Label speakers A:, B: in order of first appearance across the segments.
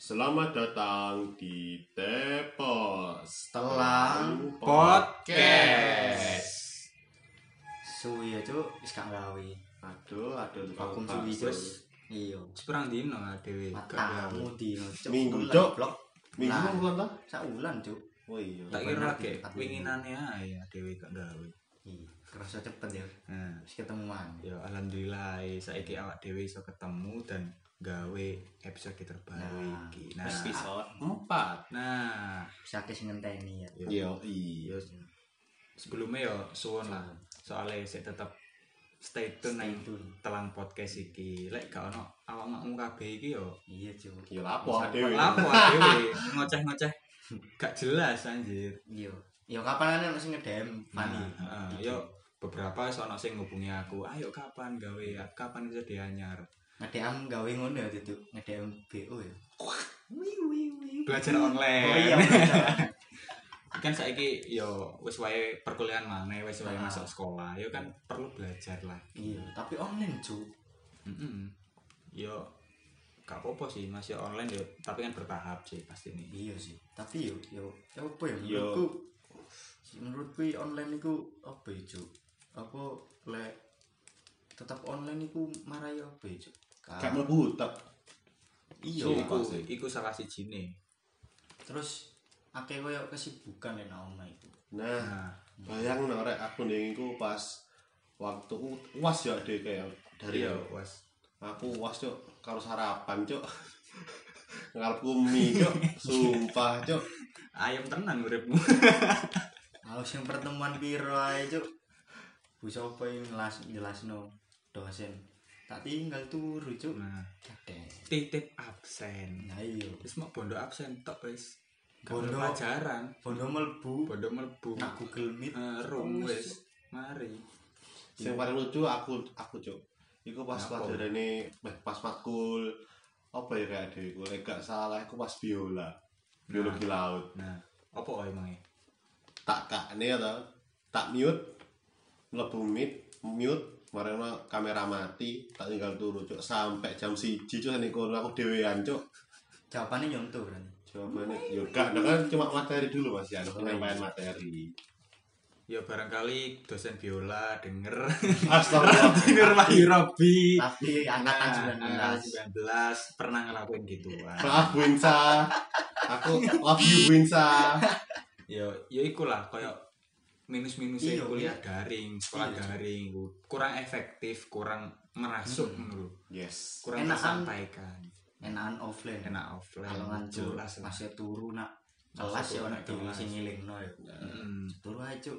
A: Selamat datang di Tepos
B: Telang
A: Podcast.
B: suwi ya cuk wis gak gawe
A: Aduh, aduh tukang
B: vakum suwi
A: bakso.
B: terus iya
C: Seperang dino dhewe.
B: matamu dino cuk
A: Minggu,
B: Ulen,
A: Cuk.
B: blok
A: Minggu
B: Nah.
A: mau bulan tak?
B: saulan cuk
A: Oh iya.
C: Tak
B: Bener,
C: kira lagi
B: bener.
C: winginane ae ya dhewe gak gawe.
B: iya kerasa cepet ya
C: Nah,
B: wis ketemuan
C: ya alhamdulillah eh, saiki awak dhewe iso ketemu dan gawe episode terbaru
B: Nah,
C: iki. Nah,
A: Empat.
C: nah,
B: bisa kes ngenteni ya
C: yo,
A: Iya, iya.
C: yo sebelumnya yo suwon lah. Soale sik tetep stay tune
B: Stay
C: nang
B: tune.
C: telang podcast iki. Lek gak ono awakmu kabeh iki yo
B: iya cuk
A: Iya lapo dhewe.
C: lapo dhewe ngoceh-ngoceh gak jelas anjir.
B: iya ya kapan ana sing ngedem Fani
C: Nah,
A: ah,
C: eh, yo beberapa sono sing ngubungi aku, ayo kapan gawe, kapan bisa dianyar.
B: ngedem gawe ngono ya cuk ngedem BO ya Wih, wih, wih.
C: Belajar
A: Eh.
B: oh iya
C: online.
B: bener.
C: kan saiki yo wis wae perkuliahan maneh, wis wae
B: Ah.
C: masuk sekolah, yo kan perlu belajar lah.
B: iya tapi online cuk
C: Mm-mm. Yo gak apa-apa sih masih online yo, tapi kan bertahap sih pasti ini.
B: iya sih tapi yo yo yo apa ya
A: Yo.
B: menurutku menurutku i online itu apa ya cuk apa lek tetap online itu marah ya apa ya cuk
A: Gak mau butek.
B: iya
C: So,
A: Sumpah
C: iku,
A: sih.
C: iku salah siji nih.
B: terus akeh koyo kesibukan ya nang omah iku
A: Nah,
C: Nah,
A: bayang norek aku ning iku pas waktu uas ya deh kayak dari
C: iya was.
A: aku uas cok karo sarapan cok ngarepku mie cok sumpah cok
C: Ayam tenan uripmu.
B: harus yang pertemuan piro ae cuk Bu sapa yang ngelas jelasno dosen tak tinggal turu cuk
C: Nah,
B: Kadek.
C: titip absen.
B: nah iya
C: Wis mau bondo absen tok wis.
B: Bondo.
C: Bondo pelajaran,
B: bondo melbu
C: bondo mlebu.
B: nak Google Meet
C: Eh, room wis. Mari.
A: sing paling lucu aku aku cuk iku pas
C: Apa?
A: pelajarane eh, pas matkul apa ya kayak dhewe iku lek gak salah iku pas biola biologi laut
C: Nah, apa e? wae mangi?
A: tak kakne ta tak mute mlebu mute mute Marena kamera mati, tak tinggal turu cuk sampai jam 1 cuk nek kono aku dhewean cuk.
B: jawabannya nyontoh kan
A: Jawabannya yo gak nah kan cuma materi dulu Mas ya, aku pengen main materi.
C: Ya barangkali dosen biola denger.
A: Astagfirullah.
C: Dinur Wahyu Robi. Ah,
B: tapi angkatan
C: Nah,
B: 19
C: 19 pernah ngelakuin gituan.
A: Maaf Winsa. Aku love you Winsa.
C: Ya ya ikulah koyo minus-minus e
B: Iya, iya.
C: kuliah daring, sekolah
B: Iya.
C: daring, kurang efektif, kurang merasuk
B: Hmm.
C: menurut,
A: Yes.
C: kurang
B: Enakan.
C: tersampaikan.
B: enakan offline enak
C: Enak offline,
B: kalongan cuk
C: jelas lah.
B: masih turu nak
C: Masih
B: kelas ya
C: turu
B: nak
C: nak
B: dhewe
C: kelas.
B: sing ngilingno ya
C: Mm.
B: turu ae cuk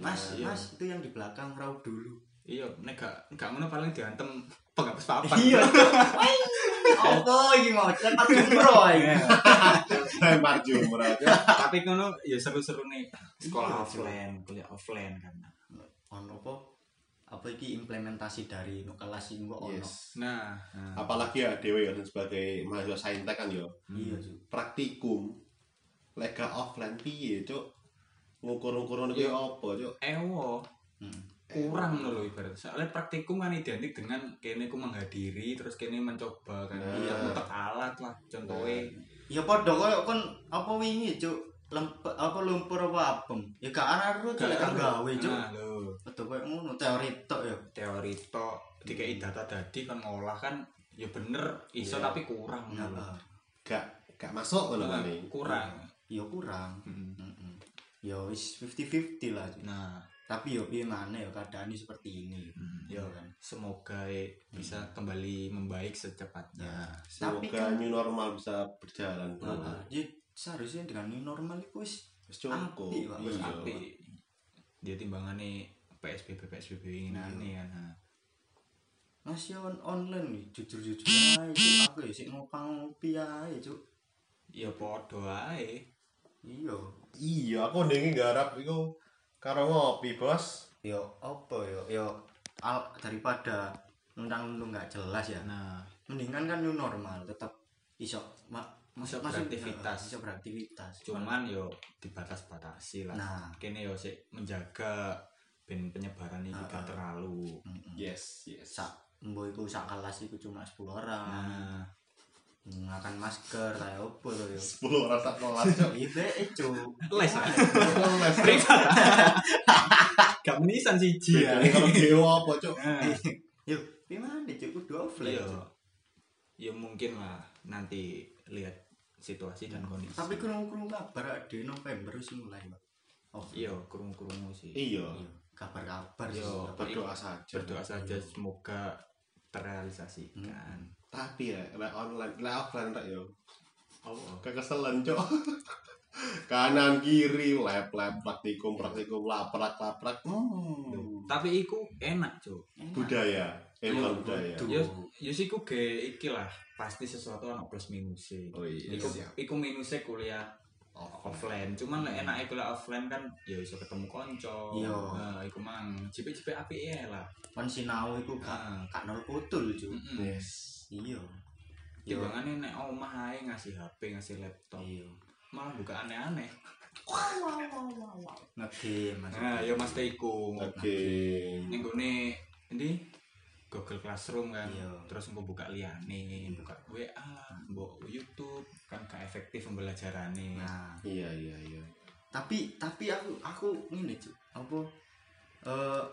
B: Mas,
C: Iya.
B: mas itu yang di belakang raw dulu.
C: Iya, nek gak gak ngono paling diantem penghapus papan.
B: Apa iki mau cepat jumro iki.
A: Lempar jumlah.
C: Tapi ngono ya seru-seru nih
B: Iya,
C: sekolah offline, kuliah offline kan.
B: Ono apa? Apa iki implementasi dari no kelas iki kok ono.
A: Yes.
C: Nah, nah.
A: Apalagi ya dewe ya sebagai mahasiswa saintek kan yo.
B: Iya, Cuk.
A: Praktikum lega offline piye, Cuk? Ngukur-ngukur ngono kuwi apa, Cuk?
C: Ewo,
B: Hmm.
C: kurang ngono lho ibarat. Soalnya praktikum kan identik dengan kene ku menghadiri terus kene mencoba kan.
A: Nah.
C: Iya, mutek alat lah contohnya.
B: Ya padha koyo kon apa wingi, Cuk? Lempet apa lumpur apa apem. Ya gak ana ro cuk lek gak gawe, Cuk.
C: Nah, lho,
B: Padha koyo ngono teori tok ya.
C: teori tok dikai data dadi kan ngolah kan ya bener iso
A: Iya.
C: tapi kurang ngono lho.
B: Nah,
A: Gak gak masuk ngono
C: Nah,
A: kan
C: kurang.
B: ya kurang.
C: Mm.
B: Heeh. Ya wis 50-50 lah. Cuk.
C: Nah,
B: Tapi ya piye maneh ya keadaannya seperti ini.
C: ya kan semoga eh, bisa kembali membaik secepatnya
B: Nah, tapi
A: Semoga
B: kan
A: new normal bisa berjalan. Bro.
B: Nah, ya seharusnya dengan new normal itu wis
A: Wis cukup.
B: Apik, Pak.
A: Iya.
C: tapi dia timbangannya PSBB PSBB ini kan nah.
B: masih on online nih jujur-jujur aja Cuk. aku ya sik ngopang ngopi aja Cuk.
C: ya podo ae
B: Iya.
A: Iya, aku ndenge garap iku karo ngopi, Bos.
B: Yo apa yo yo al daripada nundang-nundung nggak jelas ya.
C: nah
B: Mendingan kan new normal tetap iso ma
C: Iso
B: masih-
C: beraktivitas.
B: eh, iso beraktivitas.
C: cuman yo dibatas-batasi lah
B: Nah,
C: kene yo sik menjaga ben penyebaran ini gak terlalu
B: heeh.
A: Yes, yes.
B: sak mbok iku sak kelas iku cuma 10 orang.
C: nah
B: Nah, kan menggunakan masker kayak opo to yo.
A: 10 orang tak kelas cok.
B: Ibe eh, cuk.
C: Les lah.
A: Kelas.
C: Gak menisan siji ya.
A: Bedanya Iya, kalau dewa apa cok?
B: Yo, gimana cuk kudu offline.
C: Iya.
B: Cuk.
C: Ya mungkin lah nanti lihat situasi dan kondisi.
B: Tapi kurung-kurung kabar di November sih mulai, Pak. Oh,
C: iya kurung-kurungu sih.
A: Iya.
B: iya. Kabar-kabar sih.
C: Yo,
A: Berdoa saja.
C: berdoa
A: Iya.
C: saja semoga terrealisasikan.
A: Tapi ya, lek online, lek offline tak ya, yo.
C: Oh,
A: Kekeselan cok. Kanan kiri lab lab praktikum praktikum laprak laprak.
B: Gitu.
A: Hmm.
C: Tapi iku enak, Cuk.
B: Eh,
A: Budaya, emang budaya.
B: Tuh.
C: Ya, ya sih ku ge iki lah. Pasti sesuatu ana plus minusnya.
A: Oh iya.
C: Iku,
A: siap.
C: iku minusnya kuliah
B: Oh,
C: offline. Cuman lek enake kuliah offline kan ya iso ketemu kanca.
B: Hmm. Iya.
C: Nah, iku mang cipik-cipik apike ya lah.
B: Kon
C: Nah,
B: sinau iku gak
C: Heeh.
B: gak nol kutul, Cuk.
C: Heeh.
A: Yes.
B: Iya. Yo.
C: Timbangane nek omah ae ngasih HP, ngasih laptop,
B: Iya.
C: malah buka aneh-aneh.
B: Ngegame maksudnya.
C: Nah, ya mesti iku.
A: Oke.
C: Ning gone endi? Google Classroom kan.
B: Iya.
C: Terus mbok buka liyane, buka WA, mbok YouTube, kan gak efektif pembelajarane.
B: Nah,
A: Iya iya iya.
B: tapi tapi aku aku ngene cuk apa eh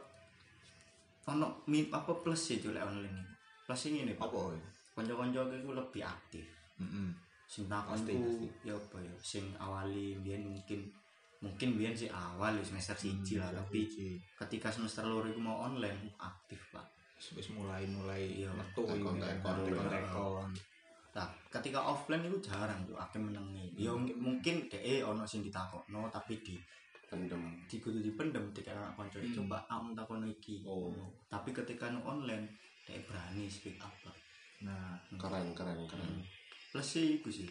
B: ono min apa plus sih cuk lek online iku. plus sih ngene pak
C: Apa? woy?
B: kanca-kanca aku iku lebih aktif
C: Heeh.
B: sing takon
C: Pasti,
B: ku ya apa ya sing awali biyen mungkin mungkin biyen sih awal ya, semester siji
C: Hmm.
B: lah tapi ketika semester loro iku mau online aku aktif pak
C: wis mulai-mulai
B: Iya,
C: metu
A: tekon-tekon.
C: tekon-tekon.
B: nah ketika offline itu jarang tuh akeh menengi ya
C: Hmm.
B: mungkin- mungkin deh ono sing ditakokno tapi di
A: Kendem.
B: di kudu dipendem di anak kanca
C: Hmm.
B: coba aku takon iki
A: Oh.
B: tapi ketika no online dek berani speak up Pak.
C: Nah,
A: Keren keren keren.
B: plus sih iku sih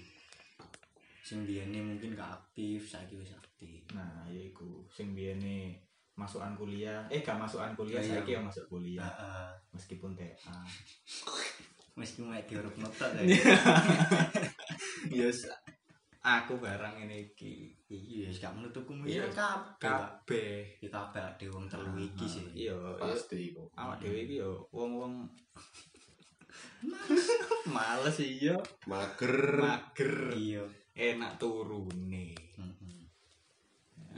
B: sing biyene mungkin gak aktif saiki wis aktif
C: nah ya iku sing biyene masukan kuliah, eh gak masukan kuliah
B: Iya.
C: saiki ya masuk
B: ya
C: kuliah
B: eh,
C: meskipun TA.
B: mesti mek diurut notok ya
C: Ya aku barang ini iki
B: iya wis gak menutup
C: Iya.
B: kemungkinan kabeh Pak.
C: kabeh.
B: ya kabeh ade wong telu iki sih
C: Iya,
A: Oh,
C: iya.
A: Pasti kok.
C: awak dhewe iki yo wong-wong males iya
A: Mager.
C: mager Hmm.
B: iya
C: enak turune
B: Mm-mm.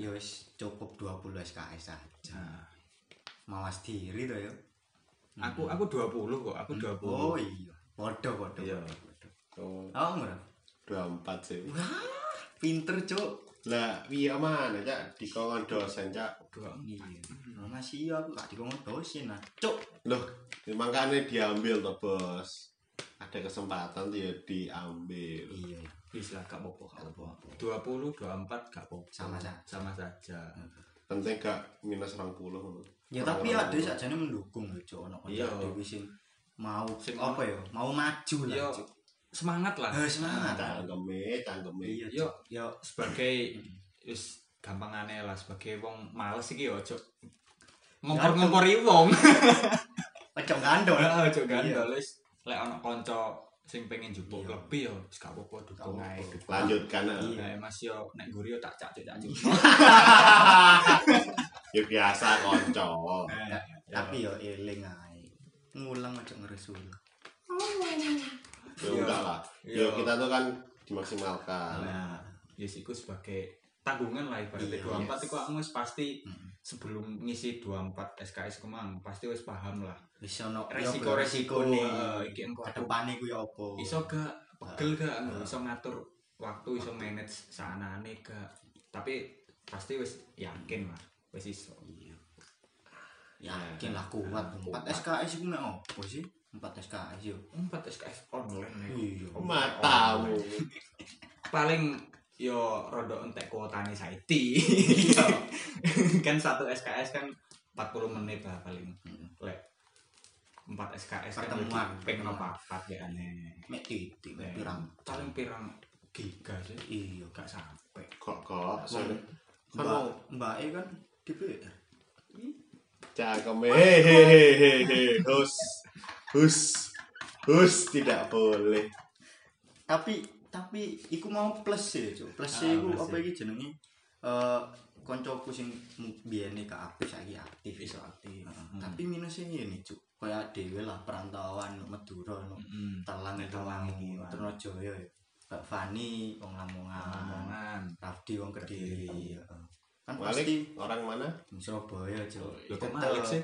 B: ya wis cukup 20 SKS saja
C: nah,
B: mawas diri to ya
C: aku aku 20 kok aku 20
B: oh iya padha padha
C: Iya.
B: padha, padha
A: Oh,
B: oh murah
A: dua empat sih.
B: wah pinter cuk
A: Lah, iya mana cak di kawan dosen cak.
C: Dua-
B: Iya. Hmm. Nah, masih iya aku gak dikongkon dosen nah. Cuk.
A: Loh, makanya diambil tuh bos. Ada kesempatan tuh ya diambil.
B: Iya.
C: bisa gak apa-apa gak
B: Gak
C: apa-apa
B: apa-apa.
C: 20 24 gak apa-apa
B: Sama saja. Hmm,
C: sama saja
A: Penting gak minus orang puluh.
B: Ya tapi ada sajane mendukung lho Cuk ono
C: Iya.
B: kanca dewe sing mau
C: Sing
B: apa ya? Mau maju
C: yo
B: lah Cuk.
C: Ya, semangat lah
A: Ah,
B: Eh, semangat.
A: Canggeme, canggeme.
B: Iya.
C: yo
B: Yo
C: sebagai
B: Hmm.
C: wis gampang aneh lah sebagai wong males iki yo ojo ngompor-ngompori wong
B: pecong gandol.
C: Heeh, ojo
B: Iya.
C: gandol wis lek ana kanca sing pengen jupuk
B: Iya.
C: lebih yo wis gak apa-apa dukung
B: Gak
C: ae
B: apa-apa.
C: dukung.
A: Lanjutkan ah.
B: Iya.
C: Nah, Mas yo nek nguri yo tak cak cak cak.
A: Ya biasa konco. Ya,
C: Nah,
B: Tapi yo eling ae. Ngulang aja ngeresul.
A: Ya
C: Iya.
A: enggak lah. Ya
C: Iya.
A: kita tuh kan dimaksimalkan.
C: Nah, ya yes, iku sebagai tanggungan lah ibaratnya
B: Iya,
C: 24
B: yes.
C: iku aku wis pasti
B: Mm.
C: sebelum ngisi 24 SKS kemang pasti wis paham lah
B: Wis ono
C: resiko-resiko nih iki engko aku
B: Kedepane ku yo apa?
C: iso gak pegel gak
B: Nah.
C: iso ngatur waktu iso manage saanane gak tapi pasti wis yakin lah wis iso
B: Iya. Yakin lah kuat. 4 SKS iku mek opo sih? 4 SKS yo.
C: 4 SKS online
B: Iya.
C: nih.
A: Matamu.
C: paling yo rodok entek kuotane saiki kan satu SKS kan 40 menit lah paling
B: Hmm.
C: lek 4 SKS kan
B: Pertemuan.
C: pengen apa apa ya aneh
B: Mek titik mek pirang.
C: paling pirang giga sih
B: Iya.
C: gak sampai
A: Kok kok.
B: Wong-
A: Kan
B: Mbak,
A: mau
B: Mbak E kan DPR.
A: Cangkem hehehehe hus hus hus tidak boleh
B: Tapi tapi iku mau plus sih, Cuk. Plus sih
C: Ah,
B: iku
C: plus
B: apa
C: sih.
B: iki jenenge? Eh koncoku sing mu- biyene gak aktif saiki aktif iso.
C: bisa aktif
B: Heeh. Tapi minusnya ngene, Cuk. Kaya dhewe lah perantauan no Madura no
C: Mm-mm.
B: Telang
C: Nek
B: itu
C: Telang
B: Hmm. Telang
C: iki,
B: iki
C: Wan.
B: Trnojoyo ya. Mbak Fani wong Lamongan,
C: Omongan.
B: Rafdi wong Kediri. heeh. Kan
A: Malik
B: pasti
A: orang mana?
B: wong Surabaya, Cuk.
C: Lho kok Malik sih?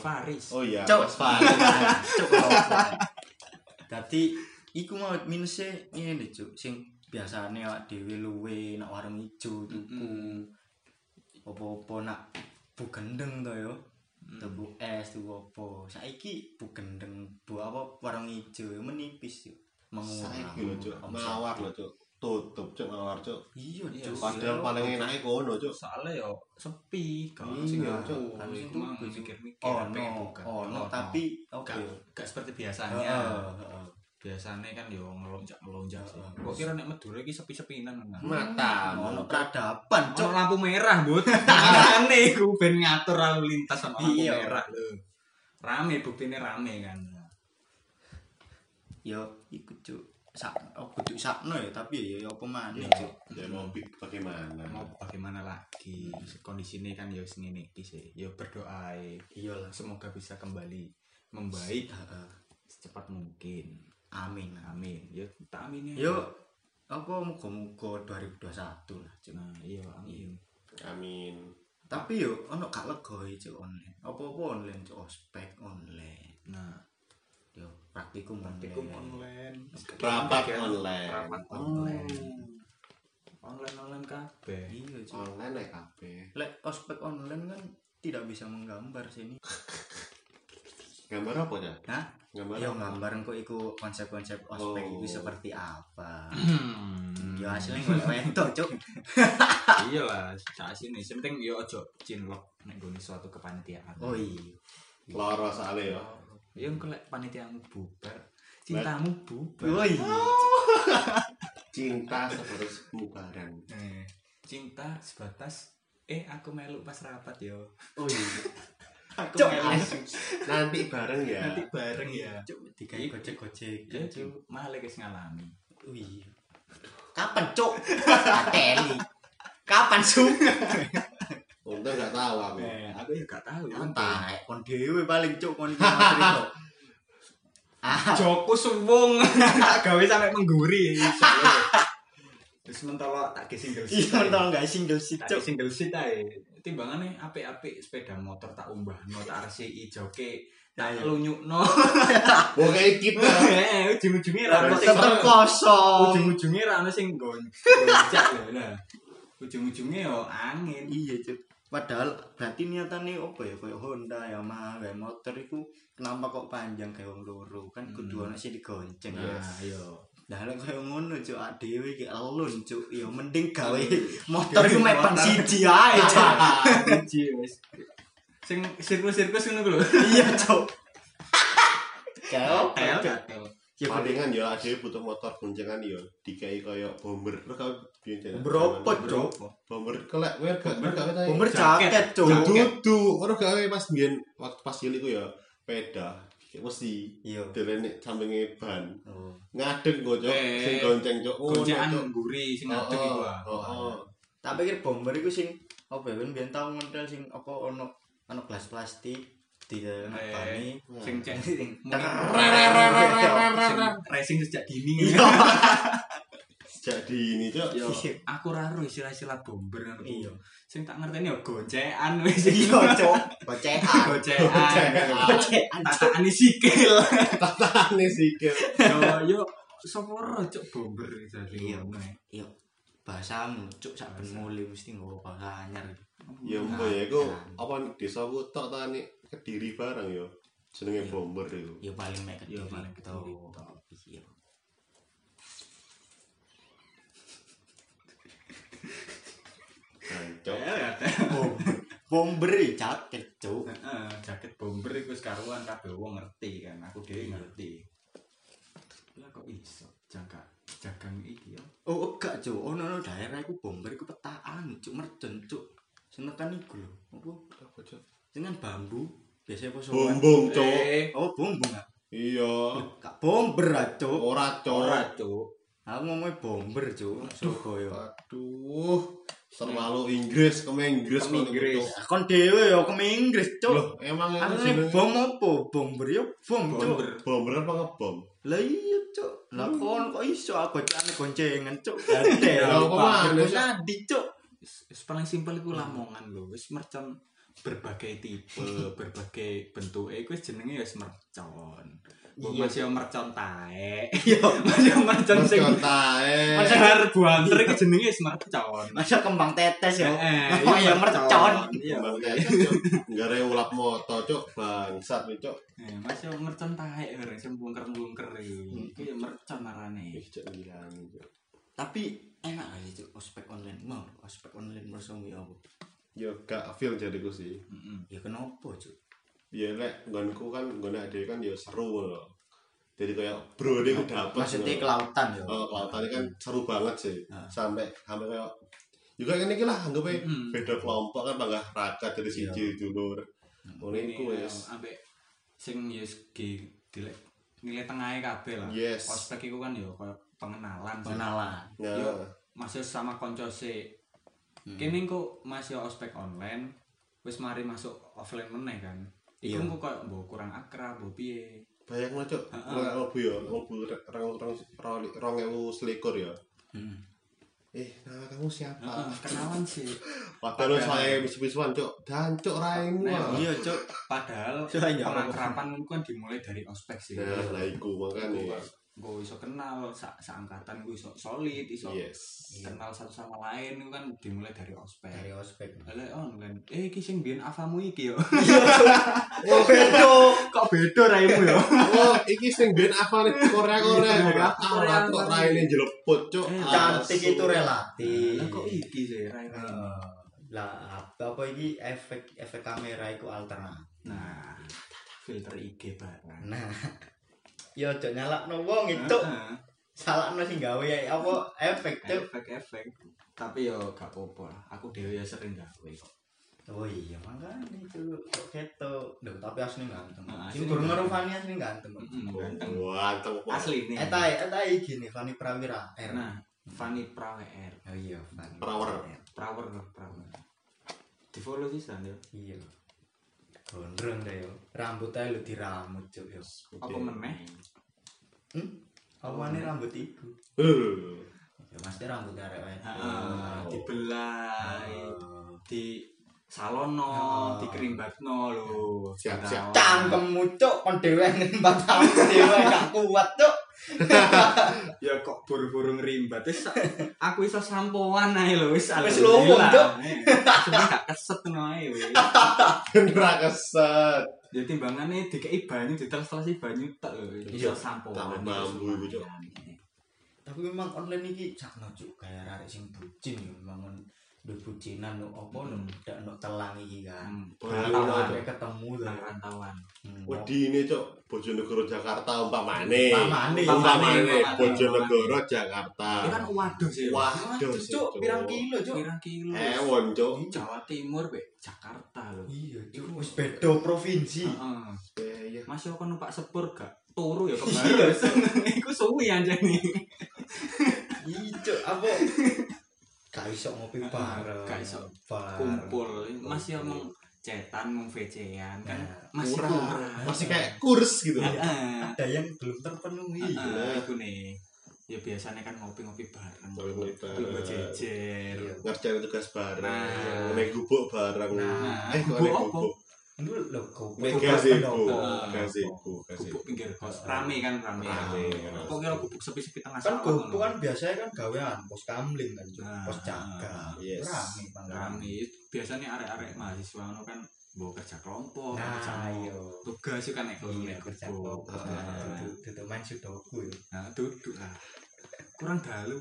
C: Faris.
A: Oh iya,
B: Cok.
A: Mas Fahri.
B: Cuk, apa? Dadi iku mau minusnya ngene, Cuk. Sing biasane awak dhewe luwe nak warung ijo tuku. Apa-apa nak bu gendeng to yo. Tuku es, tuku apa. Saiki bu gendeng, bu apa warung ijo yo menipis, Cuk. Mengurang.
A: Saiki lho, Cuk.
B: omset.
A: Nawar lho, Cuk. Tutup, Cuk, nawar, Cuk.
B: Iya,
C: Iya,
B: Cuk.
A: Padahal paling enake kono, Cuk.
C: Soalnya yo sepi, kan
A: Iya,
C: sing
A: Cuk.
C: ngaku.
B: Kan sing
C: Iku mah
B: tuku, Cuk.
C: mikir-mikir
B: Oh,
C: pengen
B: no,
C: buka.
B: oh, no,
C: Ono.
B: tapi oke.
C: gak gak seperti biasanya.
B: Heeh, heeh.
C: Biasanya kan yo ngelonjak-ngelonjak sih.
B: Heeh.
C: Kok kira nek Madura iki sepi-sepinan kan?
A: Matamu.
B: Ono peradaban,
C: Cok
B: Cuk.
C: lampu merah, Bud. Makane iku ben ngatur lalu lintas ono lampu
B: Iya.
C: merah lho. Rame buktine rame kan.
B: Ya iku, Cuk. Sak oh, kudu sakno ya, tapi ya ya apa maneh, Cuk.
A: Ya mau bi- bagaimana?
C: Mau bagaimana lagi? Kondisi ini kan ya wis ngene iki sih. Ya berdoa ae.
B: Iyalah.
C: semoga bisa kembali membaik
B: Heeh.
C: secepat mungkin.
B: Amin. amin.
C: Amin. Ya tak amin ya.
B: Yo apa muga-muga 2021 lah, Cuk.
C: Nah, iya amin.
A: Amin.
B: Tapi yo ono gak legoe, Cuk, online. Apa-apa online, Cuk. Ospek online.
C: Nah,
B: Yo praktikum online.
C: praktikum online.
A: Rapat online.
C: Rapat online. Online online kabeh.
B: Iya, Cuk.
A: Online ya kabeh.
B: Lek ospek online kan tidak bisa menggambar sini.
A: Gambar apa ya?
B: Hah?
A: Gambar
B: Ya
A: apa?
B: gambar engko iku konsep-konsep ospek
A: Oh.
B: iku seperti apa.
C: Hmm.
B: Ya hasilnya golek wedok, Cuk.
C: iya lah saat sini penting yo ojo cinlok nek gone suatu kepanitiaan
B: Oh iya.
A: Loro soalnya ya.
C: yo engko lek panitiamu bubar cintamu bubar
B: Oh iya.
A: Cinta sebatas bubaran.
C: Eh, cinta sebatas eh aku melu pas rapat yo
B: Oh iya.
C: aku
B: Cok,
C: melu
A: Nanti bareng ya.
C: nanti bareng ya
B: Cuk Iya. digawe gojek-gojek.
C: ya cu malah guys ngalami
B: Oh iya. Kapan, Cuk? Ateli. Kapan, Su?
A: Untung gak tahu aku.
C: Eh, aku ya gak tahu
B: Entah, eh, kon dhewe paling Cuk kon iki materi kok. Ah,
C: Joko suwung tak gawe sampe mengguri insya Allah. terus mentolo tak ge single seat
B: iya
C: ae.
B: tau gak single seat,
C: tak
B: Cuk.
C: ge single seat ae timbangane apik-apik sepeda motor tak umbahno tak resi joke tak
B: Ayo.
C: lunyukno
A: Oke kita.
C: Eh, ujung-ujungnya ra ono sing
B: Tetep kosong.
C: ujung-ujungnya ra ono sing gon- gonjak lho nah ujung-ujungnya yo angin
B: Iya, Cuk. Padahal berarti niatane apa ya kayak Honda ya mah gawe motor iku kenapa kok panjang kayak wong loro kan kudu
C: Hmm.
B: ana sing digonceng ya.
C: nah yo
B: Lah lek kaya ngono cuk awak dhewe iki elun cuk ya mending gawe motor iku mek ban
C: Motor.
B: siji
C: Iya,
B: ae cuk.
C: Biji, wis. sing sirkus-sirkus ngono ku lho
B: Iya cuk. Kau
C: Tel,
B: Cuk.
C: tel.
B: ya
A: Palingan ya ada butuh motor goncengan ya. Dikai koyo bomber. Terus kau biyen jalan.
B: Beropo, Cuk?
A: Bomber kelek wer gak wer gak tanya.
B: Bomber
C: Jaket,
B: jaket cuk.
C: jaket.
A: dudu. Terus gawe pas biyen waktu pas cilik ku ya peda. Kayak mesti
B: Iya.
A: delene sampinge ban.
B: Oh.
A: Ngadeg go cok.
C: Eh,
A: Sing gonceng cok. Ngono,
C: Gonjakan
A: Cuk.
C: mengguri sing
A: Oh,
C: ngadeg iku
A: oh,
C: ah.
A: oh, oh.
B: Tak pikir bomber iku sing apa ya ben biyen tau ngentel sing apa ono ono gelas plastik di dalam
C: Eh,
B: bani.
C: sing cek
B: Sing-
C: Sing racing sejak dini
A: Jadi ini cok.
C: Yo, aku raro istilah-istilah bomber ngono ku.
B: Iya.
C: sing tak ngerteni yo goncekan wis
B: Iya cuk. Gocekan.
C: gocekan
B: Gocekan cuk.
C: tataan sikil
A: Tatane sikil.
C: yo yo sapa ora cuk bomber jadi
B: Iya.
C: ngono ya.
B: Iya. Bahasamu cuk sak ben mule mesti nggo bahasa anyar.
A: Ya mbo ya iku apa desa ku tok ta nek Kediri bareng ya. Jenenge bomber iku.
B: Ya paling mek
C: Ya,
B: kediri.
C: paling Kediri
B: tok. Iya.
A: Gancok.
C: Eh, Ya, ada.
B: Bomber. Bomber ya jaket cuk.
C: Heeh, Eh, jaket bomber iku wis karuan kabeh wong ngerti kan aku dhewe ngerti lah kok iso jangka jagang iki yo
B: Oh enggak cuk, ono ono daerah iku bomber iku petaan cuk mercon cuk. Senekan iku lho. Apa?
A: Apa, Cuk?
B: Dengan bambu biasanya apa sowan?
A: Bombong cok.
C: Eh,
B: Oh bomber. ah.
A: Iya.
B: Kak bomber ah cuk.
A: Ora cok.
C: ora cuk
B: Aku ngomongnya bomber cuk, Surabaya.
A: Aduh. terlalu Inggris kemeng Inggris
C: Kemeng
A: kok
C: Inggris.
A: itu.
B: Lah, kon dhewe ya ke Inggris,
A: Loh,
B: Cuk.
A: emang itu
B: Arene
A: jenenge
B: bom apa? Bomber ya bom, Cuk.
C: Bomber.
A: bomber apa ngebom?
B: Lah iya, Cuk. Lah kon kok iso aku bocane goncengan, Cuk. Gede.
A: Lah, kok mana, Cuk?
B: Tadi, Cuk.
C: Wis- wis paling simpel iku lamongan lho wis mercon berbagai tipe berbagai bentuk eh wis jenenge ya wis mercon Mbok
B: Iya.
C: masih mercon tae yo masih mercon sing
A: Mercon tae.
B: Mercon.
C: Jar buanter iki jenenge wis mercon
B: Masa kembang tetes ya.
C: Eh,
B: Oh, ya
C: iya,
B: mercon.
C: Iya.
A: Kembang tetes, Cuk. Nggare ulap moto, Cuk. Bangsat iki, Cuk.
C: Eh, masih mercon tae bareng sing bungker-bungker
B: Hmm.
C: iki ya mercon arane
A: Ih, Cuk ngirani, Cuk.
B: Tapi enak lah itu ospek online. Mau ospek online mersumu ya apa?
A: Yo gak feel jadiku sih.
C: heeh
B: Ya kenapa, Cuk?
A: Ya lek nggonku kan nggone dhewe kan ya seru lho. Jadi kayak bro ini dapet. ngono.
B: Maksudnya kelautan ya.
A: Oh, kelautan kan seru banget sih.
B: Nah.
A: Sampai sampai kayak juga ini lah anggap aja
C: Hmm.
A: beda kelompok kan bangga rakyat dari siji dulur. Mulai iku
C: Ini,
A: wis.
C: eh, ambek sing ya segi dilek nilai tengahnya kabeh lah
A: Yes.
C: ospek iku kan ya koyo pengenalan sih.
B: Pengenalan.
C: Yo,
A: Nah,
C: masih sama konco sih
B: Hmm.
C: kini kok masih ospek online wis mari masuk offline meneh kan iku
B: Iya.
C: kok koyo mbok kurang akrab mbok piye
A: bayang lah cok,
C: Heeh.
A: mulai lebu ya, lebu rong rong rong- rong ewu selikur ya.
B: Hmm.
A: Eh, nama kamu siapa?
C: Heeh, kenalan sih
A: Padahal
C: Padahal.
A: saya misu-misuan cok, dan cok raimu.
C: Nah,
A: ah.
B: Iya, Cuk.
C: padahal
B: Saya nggak
C: pengakrapan itu kan dimulai dari ospek sih
A: Nah, lah iku makanya.
C: gue iso kenal sa seangkatan gue iso solid iso
A: Yes.
C: kenal satu sama lain itu kan dimulai dari ospek
B: Dari ospek.
C: Ala online. Eh iki sing biyen avamu iki yo.
B: Oh,
C: iya,
B: bedo. Kok bedo raimu ya?
A: Oh, iki sing ben apa nih Korea Korea.
C: Iya, Korea.
A: Alat kok raine jeleput cok.
C: Eh,
B: Cantik
A: Asu.
B: itu relatif.
C: Lah kok iya? iki sih Rai?
B: Eh, lah apa apa ini efek efek kamera itu alternatif
C: Nah, filter IG barang.
B: nah yo cok nyala wong itu
C: Heeh,
B: salah no sing gawe ya apa efek tuh
C: efek-efek. Tapi yo gak apa-apa lah. Aku dhewe ya sering gawe kok.
B: oh iya makanya itu kok keto Duh, tapi asli ganteng
C: Nah,
B: sing
C: asli
B: gurung
C: ganteng.
B: ngeru Fani asli ganteng Eh,
C: Mm-mm, Ganteng.
A: Wah, ganteng kok.
C: Asli nih.
B: eta eta gini Fani Prawira R
C: Nah, Fanny Prawer.
B: oh iya Fani
A: Prawer.
B: R.
C: Prawer, Prawer. Di follow sih san yo.
B: iya gondrong dah yo rambut aja lu dirambut cok yo
C: Apa meneh?
B: hmm? apa nih rambut iku
A: Eh,
B: ya pasti rambut arek
C: Heeh,
B: wedok
C: dibelai,
B: Oh.
C: di salono,
B: Oh.
C: dikerimbatno lho.
A: Siap, siap.
B: cangkemmu cok kon dhewe ngrimbat aku dhewe gak kuat cok
C: ya kok buru-buru ngerimbat terus aku iso sampoan ae lho wis
B: Wis luwung, Cuk.
C: cuma gak keset ngono ae wis
A: Gendra keset.
C: ya timbangane dikei banyu diteles-telesi banyu tak lho
A: Iya,
C: iso sampoan
A: tambah bambu iku, Cuk.
B: tapi memang online iki sakno cok kayak arek sing bucin ya memang nduk bucinan nduk apa
C: Hmm.
B: nduk ndak nduk telang iki kan
A: Baru aja.
C: Rantauan.
B: arek ketemu lho
C: rantauan
A: Wedi ini cok, Bojonegoro Jakarta umpamane.
B: Umpamane.
A: umpamane
C: Umpamane.
A: Bojonegoro
C: ini kan
A: Jakarta.
C: waduh Eh, sih
A: Waduh, sih,
B: cok pirang kilo cok
C: pirang kilo
A: Ewon cok.
C: Jawa Timur be Jakarta lho
B: iya cok wis beda provinsi
C: heeh
A: Eh, iya.
C: Mas yo kono Pak Sepur gak turu ya kemarin iku suwi anjene
B: iya cok apa gak iso ngopi
C: Heeh,
B: bareng
C: gak iso
B: bar.
C: kumpul masih emang cetan mau vecean kan
B: Nah,
C: masih
A: kurang.
C: kurang
A: Masih kayak kurs gitu.
C: Heeh,
B: ada yang belum terpenuhi
C: heeh,
A: Iya.
C: itu nih ya biasanya kan ngopi-ngopi bareng
A: Ngopi-ngopi bareng.
C: berjejer
B: Iya.
A: Ngerjain tugas bareng,
C: Nah.
A: naik gubuk bareng.
C: Nah,
A: Eh, kok
C: gubuk
A: naik
C: apa?
A: gubuk?
B: Lu lho kok
A: Naik
B: kok
A: gazebo,
C: Ah.
A: gazebo,
B: pendopo.
A: gazebo.
C: Nah. gubuk pinggir kos rame kan rame
A: Rame,
C: kok kira gubuk sepi-sepi tengah
B: kan
C: sawah
B: gopo
C: ngono?
B: kan biasanya kan gawean pos kamling kan Cuk.
C: Nah,
B: pos jaga
A: yes.
B: rame bangga
C: rame biasanya arek-arek mahasiswa ngono kan mau kerja kelompok kerja
B: nah
C: mau
B: yo
C: tugas itu kan eh, naik
B: Oh, iya
C: naik
B: kerja
C: gubuk.
B: kelompok
C: Heeh.
B: tutup main sudoku yo
C: nah duduk lah kurang dalu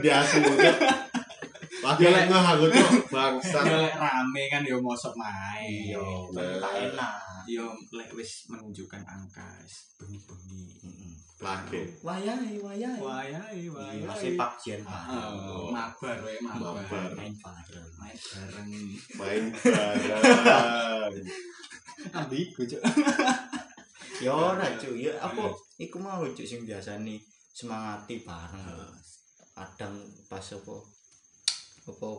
A: Diasu. Lagi lek ngeh aku cok, bangsat.
C: Ya lek rame kan yo mosok main.
B: Iya,
A: bener.
B: tak enak
C: Yo lek wis menunjukkan angka wis bengi-bengi.
A: Lagi.
B: wayai wayai
C: Wayahe
B: Iya,
C: wayahe.
B: masih Ah. pakjian
C: Oh, mabar wae mabar.
A: Mabar.
B: main bareng
C: Main bareng.
A: main
C: Nah.
A: bareng.
C: Ambigu cuk.
B: yo ora cuk yo apa iku mau cuk sing biasane semangati bareng kadang pas apa apa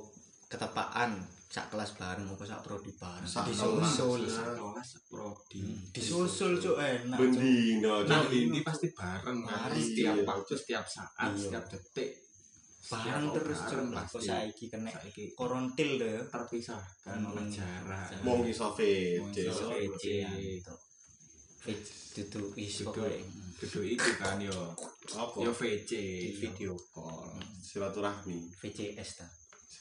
B: ketepaan sak kelas bareng apa sak prodi bareng
A: Sak
B: disusul
A: kelas.
C: kelas prodi
B: Hmm, disusul cuk enak cuk
A: Bendino,
C: nah
A: Cuk.
C: ini pasti bareng
A: Bareng.
C: harus setiap waktu setiap saat
B: Iya.
C: setiap detik
B: bareng
C: Setiap
B: terus cuk
C: bareng
B: lah kok
C: pasti
B: saiki kena
C: saiki
B: korontil deh
C: terpisahkan oleh
B: Hmm.
C: jarak
B: Jarak.
A: Wong iso fece.
C: Wong iso
A: Cuk.
C: fece. Iya.
B: Eh, duduk iso
C: Duduk. gedung itu kan yo
A: Apa?
C: yo VC
B: Iya.
C: video call
A: Silaturahmi.
B: VCS ta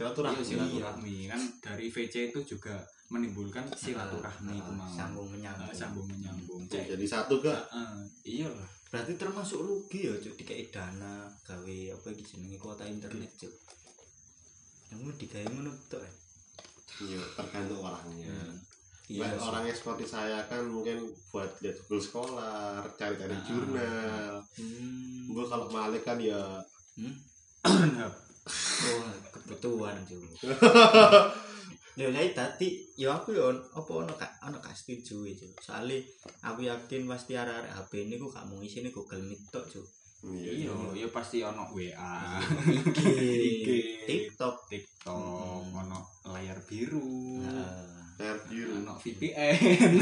C: Iya,
A: Silaturahmi.
C: silaturahmi kan dari VC itu juga menimbulkan silaturahmi
B: Ah,
C: itu mau
B: sambung
C: Eh,
B: menyambung
C: sambung menyambung
A: Cuk,
C: cek
A: Jadi satu ke
C: Eh, iya lah
B: berarti termasuk rugi ya cuk dikei dana gawe apa iki jenenge kuota internet cuk kamu digawe ngono tok eh.
A: Iya, tergantung orangnya.
C: Nah.
B: iya
A: Baik,
B: Cuk.
A: orang yang seperti saya kan mungkin buat lihat Google Scholar, cari-cari
C: Ah.
A: jurnal.
B: Hmm.
A: Gue kalau Malik kan ya
B: Hmm?
C: Bener.
B: Oh, kebutuhan cuy. Yo saya tadi, yo aku yo apa ono ka, ono gak setuju cuy. Soale aku yakin pasti arek-arek HP ini ku gak mau isine Google Meet tok cuy.
A: ya,
C: iya iya pasti ono WA
B: IG,
C: IG,
B: TikTok.
C: TikTok
B: Hmm. Ah.
C: ono layar biru
B: Nah,
A: interview.
C: ono VPN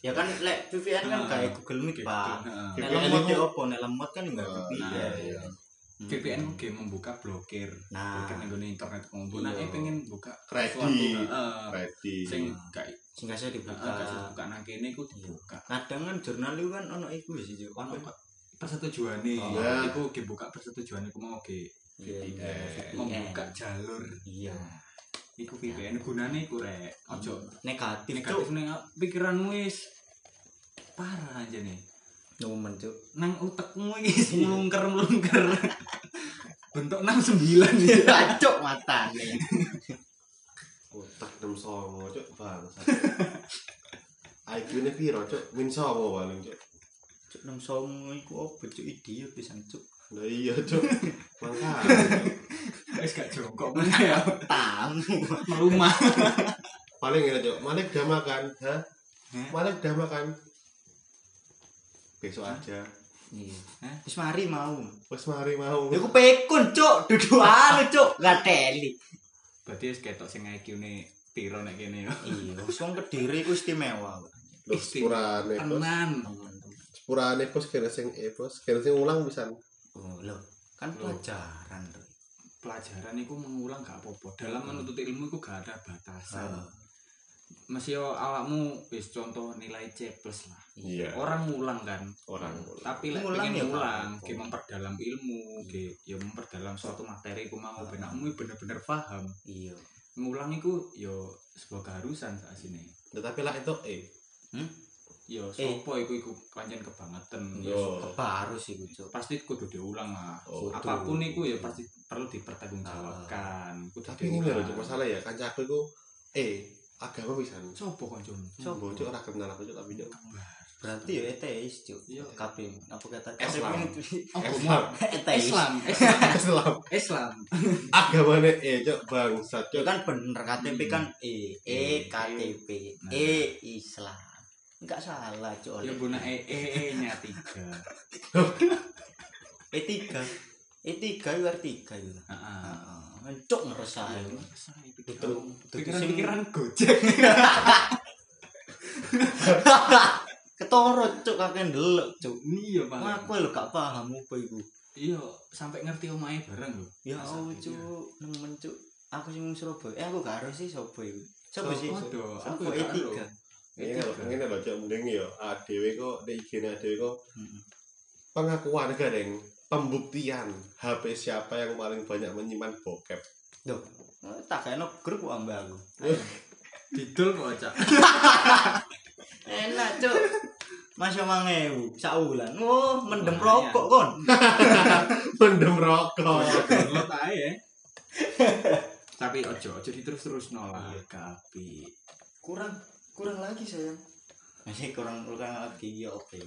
B: ya kan lek VPN kan
C: Ah,
B: kayak Google Meet, Pak.
C: Nah,
B: Nek
A: VPN
B: lemot
A: itu-
B: yo opo, nek lemot kan enggak
A: Ah,
C: iya,
B: VPN.
C: iya. VPN ku game membuka blokir
B: Nah,
C: blokir nenggono internet umum nah
B: Ah. Iya.
C: eh, pengen buka
A: Kredit.
C: sesuatu, eh,
A: Ready.
C: sing gak
B: sing kasih
C: Heeh, kasih
B: dibuka.
C: Nah, buka nang kene iku dibuka.
B: Kadang kan jurnal itu kan ono iku sih cuy. Ono
C: Ono persetujuane.
B: Oh.
C: Iya, iku ge buka persetujuane ku mau ge
B: VPN.
C: membuka jalur.
B: Iya.
C: Iku VPN gunane iku rek. Ojo
B: Negatif cuy.
C: negatif ning pikiranmu wis parah aja nih.
B: Nomen cuk.
C: Nang utekmu iki wis melungker-melungker. Bentuk 69 ya.
B: Acok matane.
A: Otak enam songo, cok bangsa. IQ nya piro, cok? Min songo paling, cok.
B: Cuk nem songo iku opo cuk idiot pisan cuk.
A: Nah iya, cok. Mangka.
C: Wis gak jongkok mana ya.
B: Tamu.
C: Merumah.
A: Paling ya, cok. Malik udah makan, ha? Malik udah makan. Besok aja.
B: Iya. Wis mari mau.
A: Wes mari mau.
B: Ya ku pekun cuk, duduk anu cuk, gak teli.
C: Berarti wis ketok sing IQ-ne piro nek kene ya.
B: Iya, wis wong Kediri ku istimewa. Pak.
A: Loh, sepurane,
C: anu
A: bos.
C: Tenan.
B: Teman-teman.
A: Sepurane, bos. Kira sing E, bos. Kira sing ulang pisan.
B: Oh, lho, kan pelajaran lho.
C: pelajaran itu mengulang gak apa-apa dalam menuntut ilmu itu gak ada batasan
B: Ah.
C: masih yo awakmu wis contoh nilai C plus lah
A: Iya.
C: orang ngulang kan
A: Orang.
C: tapi lek
B: Ngulang
C: pengen
B: ya, Pak.
C: ngulang ge memperdalam ilmu ge ya memperdalam suatu materi ku mau ben awakmu bener-bener paham
B: Iya.
C: ngulang iku yo sebuah keharusan saat sini
A: Tetapi lah itu E.
B: Hmm?
C: yo
B: Eh.
C: sopo iku iku pancen kebangetan
A: Yo.
B: Kebaru sih ku cuk.
C: pasti kudu diulang lah
A: Oh,
C: apapun
B: kudu.
C: iku ya pasti perlu dipertanggungjawabkan kudu
A: Tapi ini lho,
C: diulang.
A: cok. Masalah ya, kancaku itu E. Agama pisan.
C: sopo kancamu
B: Sopo?
A: Sopo, cok. Ora kenal aku, cok. Tapi, cok.
B: Berarti ya eteis cuk.
C: Iya.
B: Kabeh apa kata
A: Islam.
B: kabeh itu-
A: Islam.
B: eteis.
C: Islam, Islam,
A: Islam.
C: Islam.
A: agamanya eh cok bangsat cok
B: Ya kan bener KTP
C: Hmm.
B: kan E,
C: E,
B: E KTP,
C: nah.
B: E Islam. Enggak salah, Cuk.
C: Ya guna e e e nya tiga.
B: E3. E3 itu R3 itu.
C: Heeh.
B: Heeh. Cuk ngeresah. itu.
C: Ayo, saya
B: Betul.
C: pikiran-
B: Betul. Sing-
C: oh, Pikiran-pikiran gojek.
B: Ketoro Cuk kakek ndelok, Cuk.
C: Iya,
B: Wah,
C: Pak.
B: aku lho gak paham apa iku.
C: Iya, sampai ngerti omahe bareng lho.
B: Ya
C: Masa
B: Allah,
C: iya.
B: Cuk. Nemen, Cuk. Aku sing wong Surabaya. Eh, aku gak ero sih sapa iku. Sapa sih?
C: Sopo do? Aku
B: Sapa
C: ya
B: E3?
C: gak ero.
A: ini lho
C: Tiga.
A: ini lho cok mending ya adewe kok di IG adewe kok
B: Heeh.
A: pengakuan gadeng pembuktian HP siapa yang paling banyak menyimpan bokep
B: Duh. eh, Tak kena grup kok ambek aku.
C: Didol kok, Cak.
B: Enak, Cuk. Masya mangewu, saulan. Oh, mendem
C: Lumayan.
B: rokok kon.
A: mendem rokok
C: Download ae ya. Tapi ojo ojo diterus-terus nolak kapi.
B: Kurang, kurang lagi sayang. Masih kurang kurang lagi ya oke.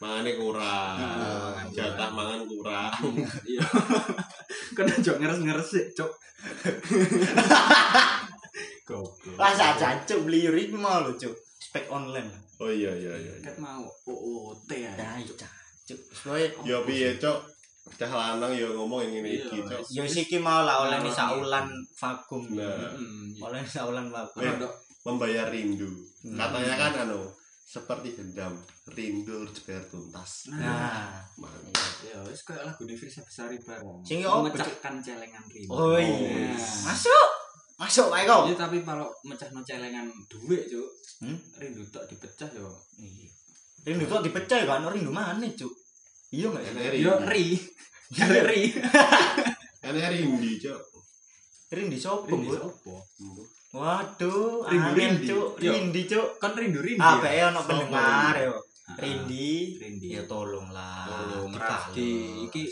A: mangane kurang
C: Nah,
A: jatah mangan kurang
C: Iya. Kan ojo ngeres-ngeres sih, Cuk. Goblok.
B: Lah saja cuk beli yuri mau lo cuk. Spek online lah.
A: oh iya iya iya
C: Kat mau OOT ya.
B: Nah, iya. Dai cuk. Soalnya
A: ya piye cok cah lanang ya ngomong yang ngene
C: Iya,
A: iki cok.
B: Yo siki mau lah oleh
C: Nah.
B: saulan vakum.
A: Nah.
C: Mm-mm.
B: Oleh saulan vakum.
A: Weh.
C: Rodok
A: Membayar rindu.
B: Hmm.
A: Katanya kan anu seperti dendam, rindu harus dibayar tuntas.
B: Nah,
A: Mantap.
C: ya wis koyo lagu di Firsa Besari bareng.
B: Sing yo
C: memecahkan celengan rindu.
B: Oh,
A: iya.
B: masuk. Masuk wae kau.
C: Iya tapi kalau mecahno celengan dhuwit, Cuk.
B: Hmm?
C: Rindu tok dipecah yo.
B: Rindu kok dipecah ya, kan rindu mana, Cuk? Iya enggak sih?
A: Enek
C: Yo
A: rindu.
C: ri.
B: Iya.
C: Kali ri.
A: Enek rindu cok.
B: Rindu sopo,
C: Rindu
B: Bu?
C: opo?
B: Waduh,
C: Rindu
B: angin,
C: Rindi.
B: Cuk.
C: Yo.
B: Rindi, Cuk.
C: Kan rindu-rindu.
B: Apa ya ono
A: Sopo
B: pendengar
A: Rindi?
B: yo. Rindi.
C: Ah, Rindi.
B: Ya tolonglah.
C: Tolong,
B: dibales.
C: Rafdi. Iki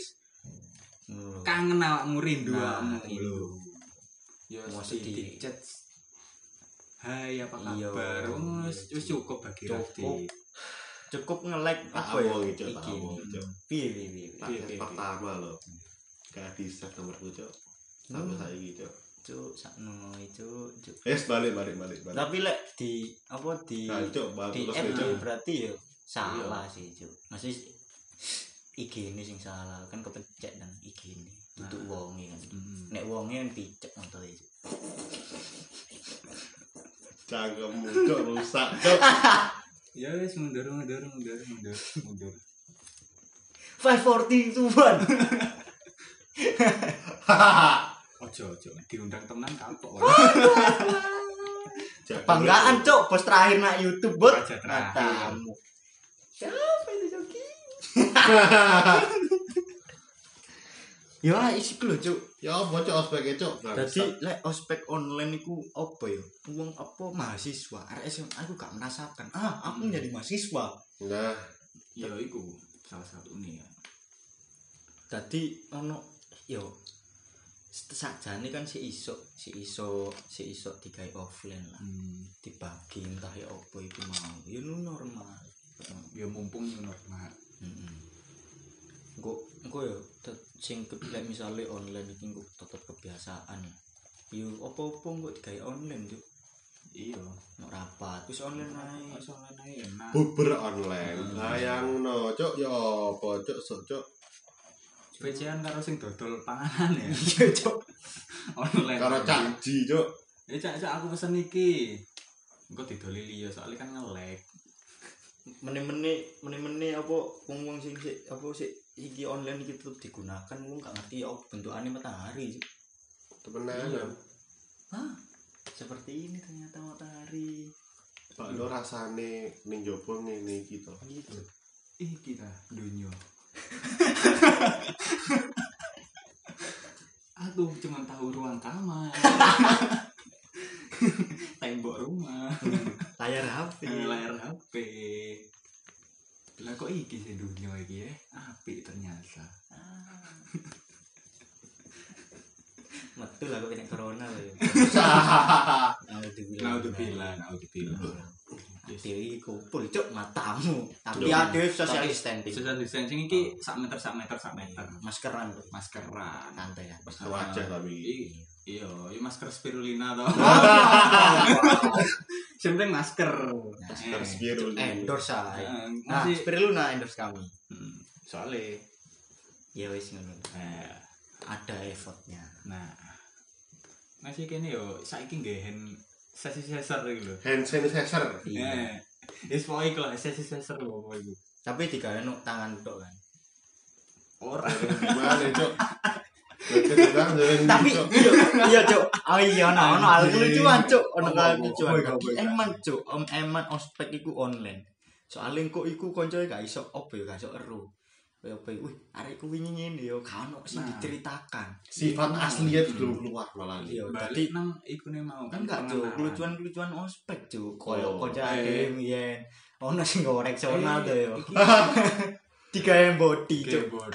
B: Ngono.
C: kangen awakmu rindu
B: Nah,
C: awakmu
B: rindu.
C: lho. Yo
B: Mesti
C: mesti
B: di-
C: dicat. Hai apa
B: Iya.
C: kabar? Wis wis cukup bagi
B: Cukup.
C: Rafdi.
B: Cukup nge-like
A: Tak
B: apa ya?
A: among cok, tak
B: Iki.
A: among cok.
B: Piye piye piye.
A: Tak
C: Iya,
A: chat
C: iya,
A: pertama lo. Kayak di set nomorku cok. Sampai
B: Hmm.
A: saiki cok.
B: Cuk, sakno Cuk, Cuk.
A: Eh balik balik balik balik.
B: Tapi lek di apa di
A: Nah, cok, balik
B: di
A: terus
B: app
A: deh, cok.
B: ya berarti ya salah sih cuk masih IG ini sing salah kan kepecet dan IG ini tutup wonge kan
C: Hmm.
B: nek wonge yang dicek e, untuk itu
A: Cangkemmu cok rusak cok.
C: Ya wis mundur mundur mundur mundur mundur.
B: five forty one
C: Ojo ojo diundang teman kapok.
A: Jangan
B: banggaan
A: rusak.
B: cok bos terakhir nak YouTube bot
C: Raja terakhir.
B: matamu siapa itu Joki ya isi lho cuk
A: Ya apa cok ospeke cok.
B: Dadi lek ospek online iku apa ya? Wong apa mahasiswa RSMA aku gak merasakan. Ah, aku menjadi mahasiswa.
A: Nah,
C: Ya iku salah satu nih ya.
B: Dadi ono yo sakjane kan si iso, si iso, si iso digawe offline lah.
C: Hmm.
B: Dibagi entah ya apa itu mau. Ya nu normal.
C: Ya mumpung new normal.
B: Heeh. Engko engko yo tet- sing ke- lek misale online iki engko tetep kebiasaan ya. Yo apa-apa engko digawe online yo.
C: Iya.
B: Mau rapat wis online ae.
C: Nah, soalnya enak.
A: buber online. Bayangno cok ya apa cok sok cok.
C: Becean karo sing dodol panganan ya.
B: Iya, Cuk.
C: Online.
A: Karo caji cok.
C: Eh cak cak aku pesen iki. Engko didoli liya soalnya kan ngelek.
B: mene-mene mene-mene apa wong-wong sing sik apa sik iki online iki tetep digunakan wong gak ngerti ya apa bentukane matahari. Cuk. Iya.
A: Temenan.
B: Hah? Seperti ini ternyata matahari.
A: Pak lo rasane ning jopo ngene iki to.
B: Gitu.
C: Ih kita dunia. aku cuma tahu ruang kamar. Tembok rumah.
B: Layar HP.
C: Eh, layar HP lah kok iki sih dunia iki ya api ternyata
B: Ah. Metu lah ya. kok kena corona lho.
C: nah
B: Alhamdulillah.
C: udah bilang nah udah bilang
B: Dewi iki kumpul cuk matamu. Tapi
A: Cuk.
B: ya dewe social distancing.
C: social distancing iki sak meter sak meter sak meter
B: Maskeran lho.
C: maskeran
B: Santai kan.
A: Pas wajah tapi.
C: I- iya iya masker spirulina toh Yang penting masker
A: Masker
C: Eh,
A: biru ini.
B: Endorse ae.
C: eh,
B: Nah,
C: masih
B: Spiruluna endorse kami.
C: Hmm, soalnya
B: Ya wis ngono.
C: eh,
B: Ada effortnya.
C: nah masih kene yo saiki nggih hand sanitizer iki lho
A: Hand sanitizer.
B: Iya.
C: Eh, wis pokoke iku lah sanitizer lho pokoke iku.
B: Tapi digawe nuk tangan tok kan.
C: Ora.
A: Gimana cok? Kedengar dari
B: Tapi iya, iya Cuk. Oh iya ono ono hal
C: Anjing.
B: kelucuan Cuk, ono
C: Apa,
B: hal
C: apa,
B: kelucuan.
C: apa, apa, apa.
B: Eman Cuk, om eman ospek iku online. Soale kok iku koncoe gak iso opo ya gak iso eru. Kaya apa ya, wih, arek ku wingi ngene ya gak ono sing
C: Nah.
B: diceritakan.
A: sifat aslinya belum keluar malah.
B: Iya,
C: Balik
B: dadi
C: nang iku ne mau
B: kan gak Cuk,
C: pengenalan.
B: kelucuan-kelucuan ospek Cuk. Kaya
A: Oh,
B: konco
C: eh.
B: ade yen ono sing gorek sono to ya.
C: Iya, Iki
B: Digawe body Cuk.
C: keyboard.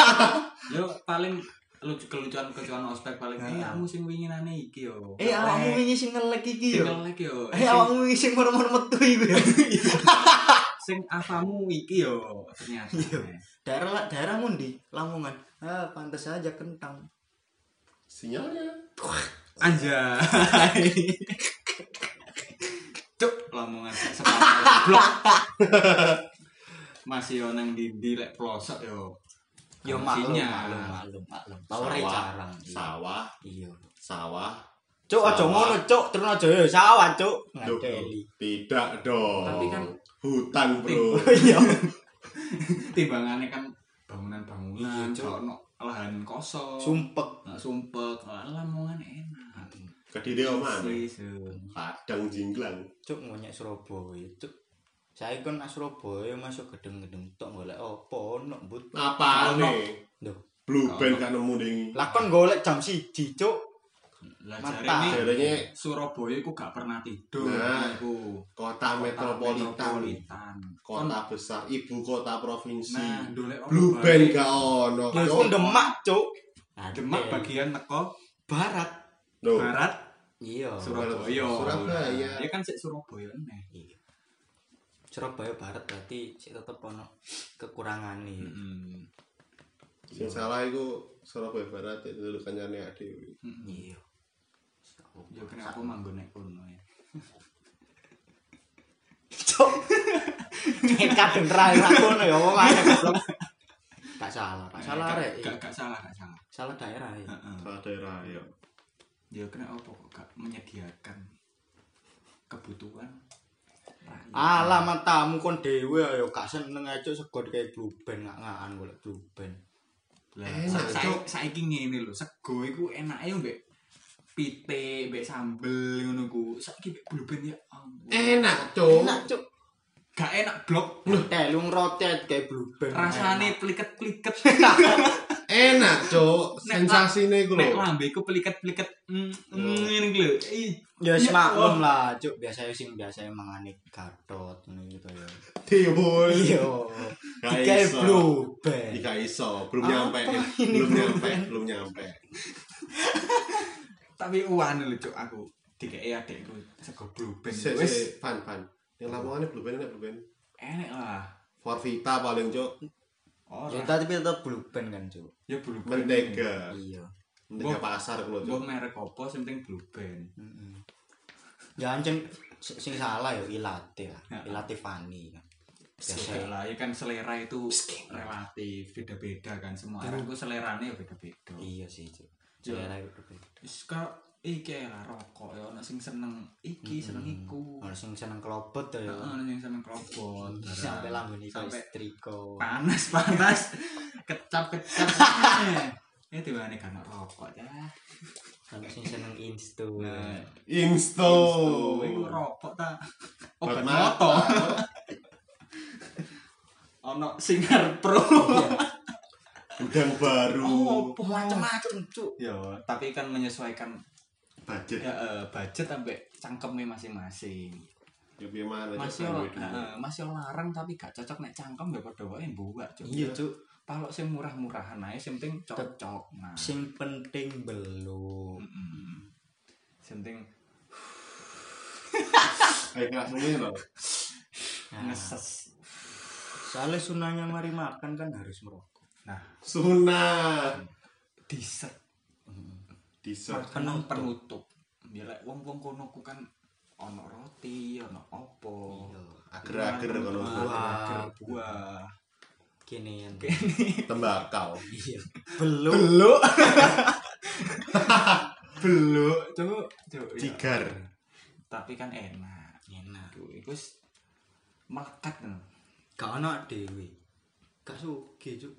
C: Yo paling lucu kelucuan kelucuan ospek paling eh
B: Nah.
C: kamu sing wingi nane iki yo.
B: Eh awakmu wingi sing ngelek iki
C: Sing
B: ya.
C: ngelek yo.
B: Eh awakmu wingi sing murmur metu iku ya.
C: Sing afamu iki yo ternyata.
B: Iya. Daerah daerah mundi, Lamongan. Ah, pantes aja kentang.
A: Sinyalnya.
C: Anjay. Cuk, lamongan sepanjang blok. Masih yo nang dindi lek pelosok yo.
B: Yo maklum,
C: Kondisinya.
B: maklum, maklum, maklum. Tau
A: Sawah.
B: re jarang.
A: sawah
B: Iya.
A: sawah
B: Cuk aja
A: Sawah.
B: ngono, cuk. Terus aja yo sawah, cuk.
A: Duh,
B: Ngadeli.
A: tidak dong
C: Tapi kan-
A: hutan bro
B: Iya.
C: timbangannya kan bangunan-bangunan
B: Iya, Cuk.
C: kalau no- lahan kosong
B: Sumpek.
C: nggak sumpek lah lamongan enak
A: kediri oman
C: Persis, eh.
A: kadang jinglang
B: Cuk ngonyek Surabaya, cuk. Saya kan nang Surabaya masuk gedeng-gedeng tok golek opo ono mbut.
A: apa
C: Ono.
A: nih
B: Duh.
A: blue
C: Ono.
A: band kan nemu ding
B: Lah kon golek jam 1, cuk.
C: lah
B: Mantap.
C: jarene
A: Jarene
C: Surabaya ku gak pernah tidur
A: Nah.
C: iku
A: kota metropolitan
C: metropolitan.
A: kota besar ibu kota provinsi
C: nah dolek orang
A: blue
C: balik.
A: band gak ono
B: Lah
A: Cuk.
B: kon Demak, cuk.
C: Nah, Demak
B: Oke.
C: bagian teko
B: Barat.
A: Loh,
C: barat
B: Iya.
C: Surabaya
A: Surabaya.
C: ya kan sik Surabaya nih
B: Iya. Surabaya Barat berarti sik tetep ono kekurangane.
A: Hmm.
C: Mm-mm.
A: sing salah iku Surabaya Barat itu dulu kancane adewe
B: Hmm.
C: Mm-mm.
B: Iya.
C: ya kena aku manggon nek kono ya
B: Cuk. Nek kadang ra ra ngono ya wong ae goblok. Gak salah, gak salah
C: Gak-
B: rek.
C: Nah, gak gak salah gak salah
B: Salah daerah ya.
C: Heeh.
A: salah daerah ya
C: ya kena apa kok gak menyediakan kebutuhan rakyat.
B: Nah, Alamat tamu kon dhewe ayo gak seneng aja sego kayak blue band gak ngaan golek blue band.
C: Lah,
A: Enak,
C: sa- saya
A: Cuk.
C: saiki ngene lho, sego iku enake mbek pite, mbek sambel ngono ku. Saiki mbek bluben ya ampun.
A: enak cuk
C: Oh.
B: Enak cuk.
C: Gak enak blok.
B: Telung rotet kayak blue band.
C: Rasane pliket-pliket.
A: enak cuk
C: Nek-
A: sensasinya iku
C: Nek
A: lho
C: lambe iku pliket-pliket. Mm,
A: Lho.
C: mm, Ngene iku lho. Ih,
B: ya
C: Ya,
B: semaklum lah cuk biasanya sing biasanya mangane gatot ngene gitu ya.
A: timbul
B: Iya.
A: Gak
B: Kayak
A: iso.
B: blue band.
C: Iya.
A: Ika iso, belum
B: Apa
A: nyampe,
B: ini,
A: belum
B: Bro?
A: nyampe, belum nyampe.
C: Tapi uwane lho cuk aku. Dikeki adekku sego bluben.
A: Se se
C: Wis
A: pan pan. Yang lamongan ini belum enak belum enak.
C: enak lah.
A: Forvita paling cuk,
B: Ya,
C: Ora.
B: tapi tetep blue band kan cuk.
C: Ya bluben.
A: mentega,
B: Iya.
A: mentega
C: Mbok-
A: pasar kalau
C: Mbok
A: cuk.
C: merek apa sing penting bluben.
B: Heeh. Ya ancen s- sing salah ya ilate lah.
C: Heeh.
B: Ilate Fani kan. Biasa.
C: Sudah lah, ya kan selera itu relatif, beda-beda kan semua orang itu seleranya ya beda-beda.
B: Iya sih cuk.
C: Iya.
B: Selera itu beda.
C: Wis ka iki lah rokok ya ono sing seneng iki, seneng iku.
B: Ono sing seneng kelobot ya.
C: Heeh, ono sing seneng kerobot.
B: Sampai langgone iku
C: Sampai-
B: istriko.
C: Panas-panas kecap-kecap. Ya tiba-tiba kan rokok ya.
B: Ono sing seneng insto.
C: Nah,
A: Insto.
C: oh, iku rokok ta. Obat moto. Ono singar pro.
A: Gudang baru.
C: Oh,
B: Macem-macem cuk.
C: Ya, tapi kan menyesuaikan
A: Budget.
C: ya, eh, budget sampai cangkemnya masing-masing.
A: Ya gimana
C: Masih
A: Cuk?
C: ol- eh, masih larang tapi gak cocok nek cangkem ya padha wae mbuwak, Cuk.
B: Iya cuk.
C: Kalau sing murah-murahan ae sing penting cocok. Nah.
B: Sing penting belum.
C: Mm-mm. Sing penting
A: Ayo kelas ini loh.
B: Nah,
C: ngeses.
B: soalnya sunahnya mari makan kan harus merokok.
C: Nah,
A: Sunah.
C: dessert
A: Dessert.
C: makanan
B: Penutup.
C: penutup. Ya lek wong-wong kono ku kan ono roti, ono opo.
B: Iya.
A: Ager-ager kono.
C: Ager-ager buah.
B: Kini yang
A: Tembakau.
B: iya. Belum.
C: Beluk. Beluk, Cuk. Cuk, ya.
A: Cigar.
C: Tapi kan enak.
B: Enak.
C: Iku iku wis melekat kan.
B: Gak ono dhewe. Gak suge cuk.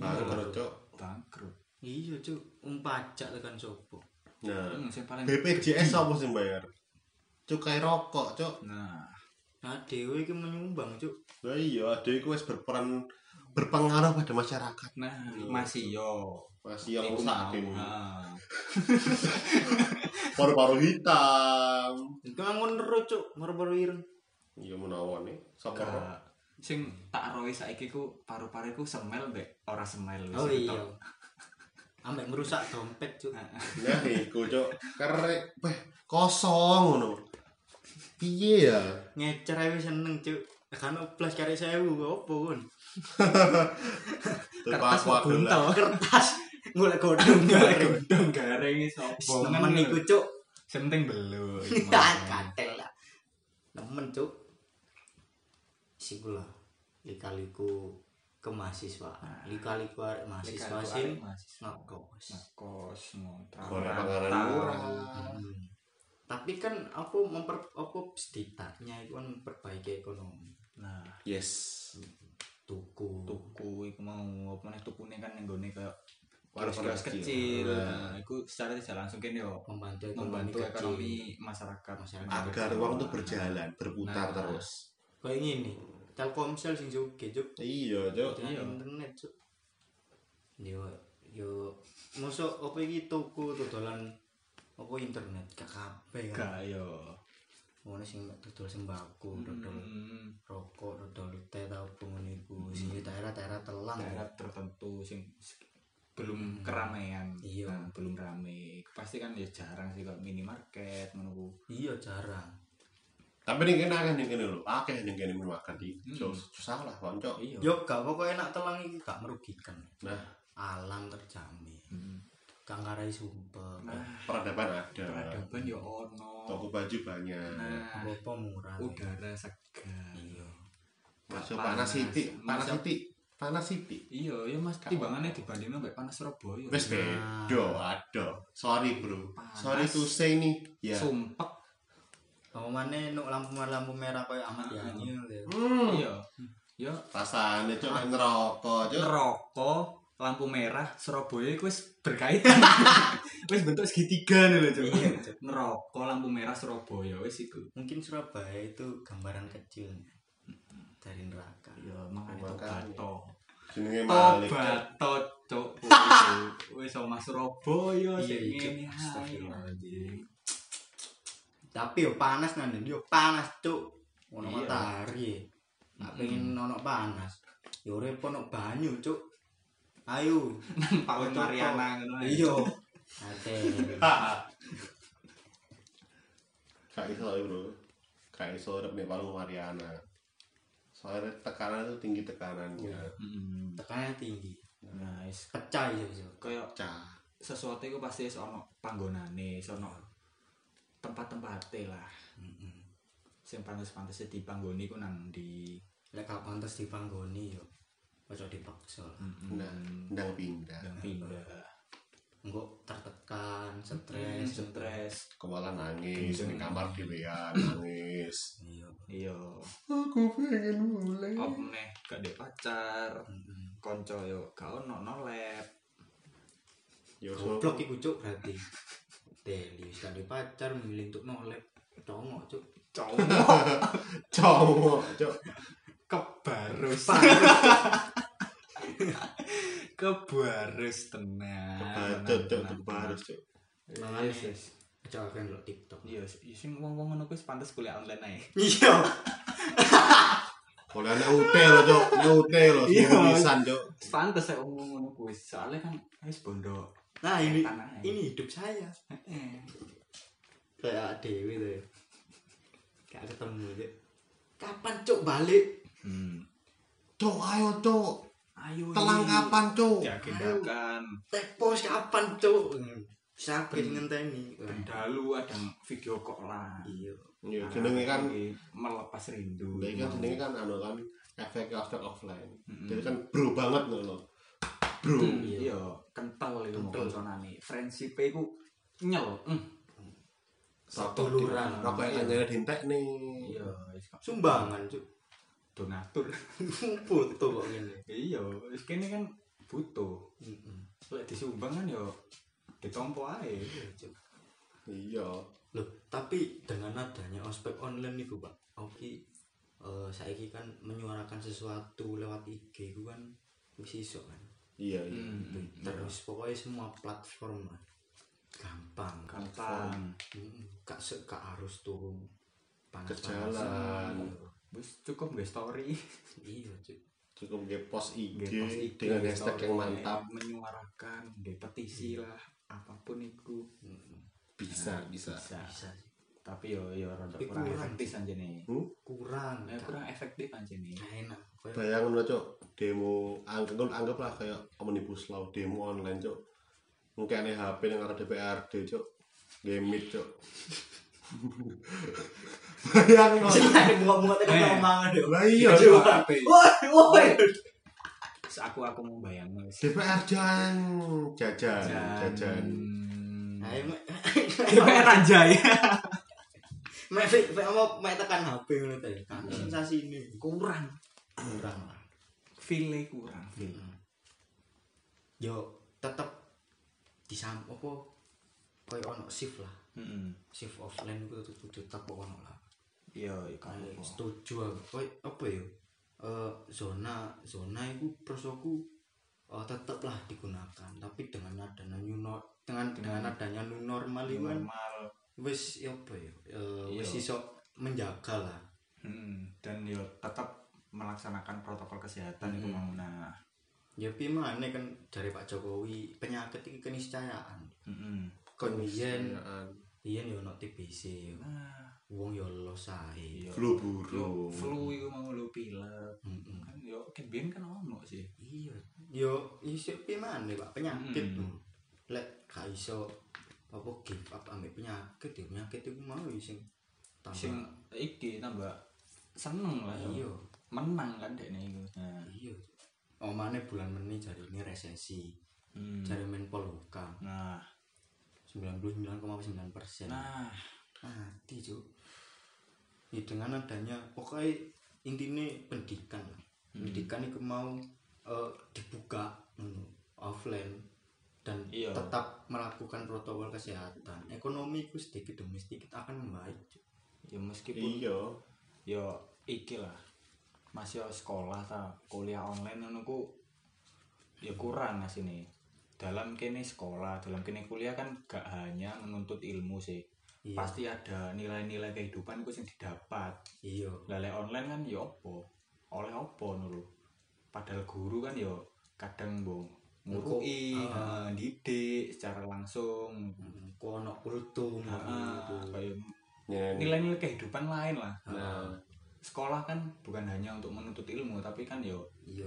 A: Baru cuk.
C: bangkrut.
B: Iya cuk, um pajak tekan sopo.
A: Nah,
C: Hmm, sing paling
A: BPJS apa sih bayar? Cukai rokok, cuk.
C: Nah,
B: Nah dhewe iki menyumbang cuk.
A: Lah iya, adik iku wis berperan berpengaruh pada masyarakat.
C: nah masih yo.
A: Masih yang
C: Iku mau.
A: rusak ini.
C: Ah.
A: Paru-paru hitam.
B: Iku ngon ro cuk, merbaru ireng.
A: Iya menawa nih. Sapa ro?
C: Gak. Sing tak roe saiki ku paru-paru ku semel mbek ora semel. wis
B: Oh iya.
C: ketok.
B: Ambek ngerusak dompet cuk.
A: Nah, iku cuk. Kerek, weh, kosong ngono. Piye ya?
B: Ngecer ae wis seneng cuk. Kan blas kare 1000 opo kon.
A: Tuh
C: Kertas
A: aku aku
C: buntel.
A: lah.
B: Kertas golek godhong
C: Golek
B: goreng.
C: Gondong garing sapa?
B: Nemen iku cuk. Ah,
C: Senting belum.
B: Katel lah. Nemen cuk. Siku lah. Ikaliku kemahasiswaan lika-liku arek mahasiswa
C: Lika-liku
B: sing
C: arek mahasiswa.
B: Gitu. ngekos
C: ngekos ngontrak
A: Golek panganan murah.
B: Hmm. tapi kan apa memper apa setidaknya itu kan memperbaiki ekonomi
C: nah
A: Yes.
B: tuku
C: tuku iku mau apa nih tukune kan yang gone kayak
A: Warung-warung
C: kios kecil
A: Nah,
C: nah iku secara tidak langsung kan yo
B: membantu ekonomi
C: membantu
B: kecil.
C: ekonomi masyarakat
B: Masyarakat.
A: agar uang itu berjalan, berputar
C: Nah.
A: terus.
B: kayak gini telkomsel sing joge jog
A: Iya, Cuk.
B: Jalan
C: Iya.
B: internet cuk. Yo yo mosok apa iki tuku dodolan apa internet gak kabeh kan.
C: gak Hmm. yo
B: Ono sing dodol sembako, dodol rokok, dodol teh ta opo ngono iku sing di daerah-daerah telang.
C: Hmm. daerah tertentu sing s- belum keramaian
B: Hmm. Iya.
C: Nah, belum rame pasti kan ya jarang sih kalau minimarket menunggu
B: Iya jarang.
A: Tapi ini kena kan ini lho, akeh ini kena makan di.
C: Hmm.
A: Cuk, Susah lah, konco.
C: iya
B: Yo gak pokoknya enak telang iki gak merugikan.
A: Nah,
B: Alam terjamin.
C: Hmm.
B: Gak ngarai sumpah.
C: nah
A: peradaban ada.
C: peradaban ya ono
A: Iya. Toko baju banyak.
C: nah
B: Apa murah.
C: udara segar
B: Iya.
A: Masuk
C: Panas.
A: panas siti, panas
C: Masuk-
A: siti, panas siti.
C: iya ya mas timbangannya dibandingin sampai panas Surabaya
A: Wes bedo, aduh. Sorry, Bro.
C: Panas.
A: Sorry to say nih. Ya.
C: sumpek
B: Apa maneh nuk lampu-lampu merah koyo Ahmad Yani ngono lho.
A: Hmm.
C: iya ya
A: Rasane cuk nek ngerokok, cuk.
C: rokok lampu merah Surabaya itu wis berkaitan wis bentuk segitiga nih loh
B: Iya,
C: coba
B: Cuk.
C: nerokok lampu merah Surabaya wis itu
B: mungkin Surabaya itu gambaran kecilnya dari neraka
C: ya
A: Makanya.
C: makanya tobat toh
A: Jenenge Malik.
C: tobat toh cok wis omah Surabaya
B: Iya,
C: sing
B: Cuk.
C: ngene
B: Astagfirullahaladzim. tapi yo panas nanti yo panas cuk ono
C: Iya.
B: matahari nggak
C: Mm-mm.
B: pengen ono panas yo repot ono banyu cuk ayo
C: Paul
B: Cuk,
C: Mariana ngono ae.
B: iyo ate
A: Gak iso ya, Bro. Gak iso rep nek warung Mariana. Soalnya tekanan ya. itu tinggi tekanannya.
B: Iya.
C: Mm-mm.
B: tekanannya tinggi
C: nah wis
B: pecah yo cuk
C: koyo
A: Cah.
C: sesuatu itu pasti wis ono panggonane wis ono tempat-tempate lah
B: Mm-mm.
C: Hmm. sing pantes-pantese dipanggoni ku nang di
B: lek gak pantes dipanggoni yo ojo dipaksa lah.
A: Nah, ndang pindah.
C: yang pindah
B: engko tertekan
C: stres
B: stres
C: Hmm, stres
A: Kepala nangis, di kamar dhewean nangis.
B: iya
C: iya
A: Aku pengen mulai.
C: omeh gak ada pacar
B: Mm-mm.
C: konco yo gak ono nolep
A: Yo
B: Goblok iku cuk berarti. Deli wis kali pacar milih untuk nolep congok cuk.
C: cowok
A: cowok, cok.
C: kebarus kebarus Ah, tenang
A: Kebacut, cok,
C: tenang,
A: kebarus, cuk.
C: tenang.
B: Makanya-
C: Yes, yes.
B: Kecawakan lo TikTok.
C: Eh. iya yes, yes, sing wong-wong ngono kuwi pantes kuliah online ae
B: Iya.
A: Kalau anak ute loh, cok. Anak ute loh,
C: Iya.
A: semua pisan, cok.
C: pantes ae wong-wong ngono kuwi soalnya kan wis bondo
B: Nah ini
C: Tanah air.
B: ini hidup saya.
C: Heeh.
B: Kayak Dewi tuh. ya. Gak ketemu cuk. Kapan cuk balik?
C: hmm.
A: Cok, ayo, cok.
C: ayo
A: Telang
C: ini.
A: kapan, cok?
C: Iya. diagendakan
B: Tepos kapan cuk? Sakit
C: Hmm.
B: ngenteni.
C: dalu ada video kok lah
B: Iya.
A: Iya, jenenge kan
C: Ah, melepas rindu
A: Jadi kan jenenge kan anu kan efek efek offline.
C: Mm-mm.
A: Jadi kan bro banget loh lo. Bro.
B: Iya.
C: iya kental itu mau
B: Kental.
C: konsonane friendship iku nyel mm.
A: Satu
B: Duluran.
A: Rokok yang nyari dintek nih.
C: iya wis gak-
B: Sumbangan cuk.
C: donatur
B: Foto kok ngene.
C: iya wis kene kan butuh
B: Heeh.
C: lek disumbang kan yo ditompo ae
B: Cuk.
A: Iya.
B: Loh, tapi dengan adanya ospek online itu Pak, Oki eh saiki kan menyuarakan sesuatu lewat IG itu kan wis iso kan.
A: Iya, iya.
C: Hmm.
B: Terus pokoknya semua platform lah. Gampang.
C: gampang
B: Mm, Gak se gak harus turun
A: Kejalan.
C: wis cukup nggak story
B: Iya, Cuk.
A: Cukup nge post IG
C: Nggak post IG,
A: dengan hashtag
C: story,
A: yang mantap.
C: menyuarakan di petisi lah apapun itu
B: Mm,
A: Bisa, bisa.
C: bisa
B: Bisa sih.
C: tapi yo yo rada
B: Tapi
C: kurang
B: kurang.
C: efektif aja nih
B: Kurang.
C: Eh, kurang efektif aja nih
B: Gak enak. Kayak
A: Bayangin lo, cok. Demo anggap anggaplah kayak omnibus law demo online, cok. Mungkin aneh HP yang ada DPRD, cok. Gamit, cok. Bayangin lo.
B: Jangan buka-buka tadi
C: Eh.
B: omongan deh.
A: Lah iya,
C: Dikasih
B: Oh,
A: cok.
B: iya.
C: HP.
B: Woi, woi.
C: aku aku mau bayang wis.
A: DPR jajan jajan jajan
C: Mm.
B: Ayo mek
C: DPR aja ya.
B: mek mek- mek apa mek tekan HP ngono ta. Kan
C: Hmm.
B: sensasi ini
C: Kurang,
B: kurang lah.
C: file kurang.
B: Hmm. Yo tetep disam apa koyo ono shift lah.
C: Heeh.
B: Shift offline iku tetep kudu tetep ono lah.
C: Iya, iya, kan.
B: Ayo, setuju aku. Koyo apa yo? Eh zona zona iku prosoku eh, tetep lah digunakan tapi dengan adanya new nor- dengan dengan adanya new normal iku kan
C: Normal.
B: wis ya apa ya eh, wis
C: Iya.
B: iso menjaga lah
C: Mm-mm. Dan yo tetap melaksanakan protokol kesehatan itu
B: Mm-mm.
C: mau nah.
B: ya pi mana kan dari Pak Jokowi penyakit iki keniscayaan
C: Mm-mm.
B: kon biyen
A: Percayaan.
B: biyen yo ono TBC yo.
C: Nah,
B: wong yo los ae
C: iya.
A: flu
C: Yo,
A: burung
C: flu itu mau lu pilek
B: Mm-mm.
C: kan yo kebian kan ono sih
B: iya yo iso pi mana Pak penyakit
C: Mm-mm.
B: tuh lek gak iso apa give up ambek penyakit ya penyakit iku mau ya sing
C: sing
B: tambah
C: iki tambah seneng lah yo.
B: iya
C: menang kan dek nih itu nah.
B: iya omane bulan meni jari ini resesi
C: Hmm.
B: jari Menpol Hukam
C: nah
B: 99,9 persen
C: nah
B: mati cuk ya dengan adanya pokoknya intinya pendidikan lah
C: Hmm.
B: pendidikan itu mau eh, dibuka ngono, offline dan
C: Iya.
B: tetap melakukan protokol kesehatan ekonomi itu sedikit demi sedikit akan membaik Cuk.
C: ya meskipun
A: iya
C: yo iki lah masih ya sekolah ta kuliah online ngono ku ya kurang lah sini dalam kene sekolah dalam kene kuliah kan gak hanya menuntut ilmu sih
B: Iya.
C: pasti ada nilai-nilai kehidupan itu yang didapat
B: iya
C: lele online kan ya opo oleh opo nulu padahal guru kan ya kadang mbok ngurui
B: Nguruk, ah.
C: eh, didik secara langsung
B: Mm, kono kultum
C: Ah,
B: gitu.
C: kayak
A: Nyen-
C: nilai-nilai kehidupan lain lah
A: Iya. nah
C: sekolah kan bukan hanya untuk menuntut ilmu tapi kan yo
B: iya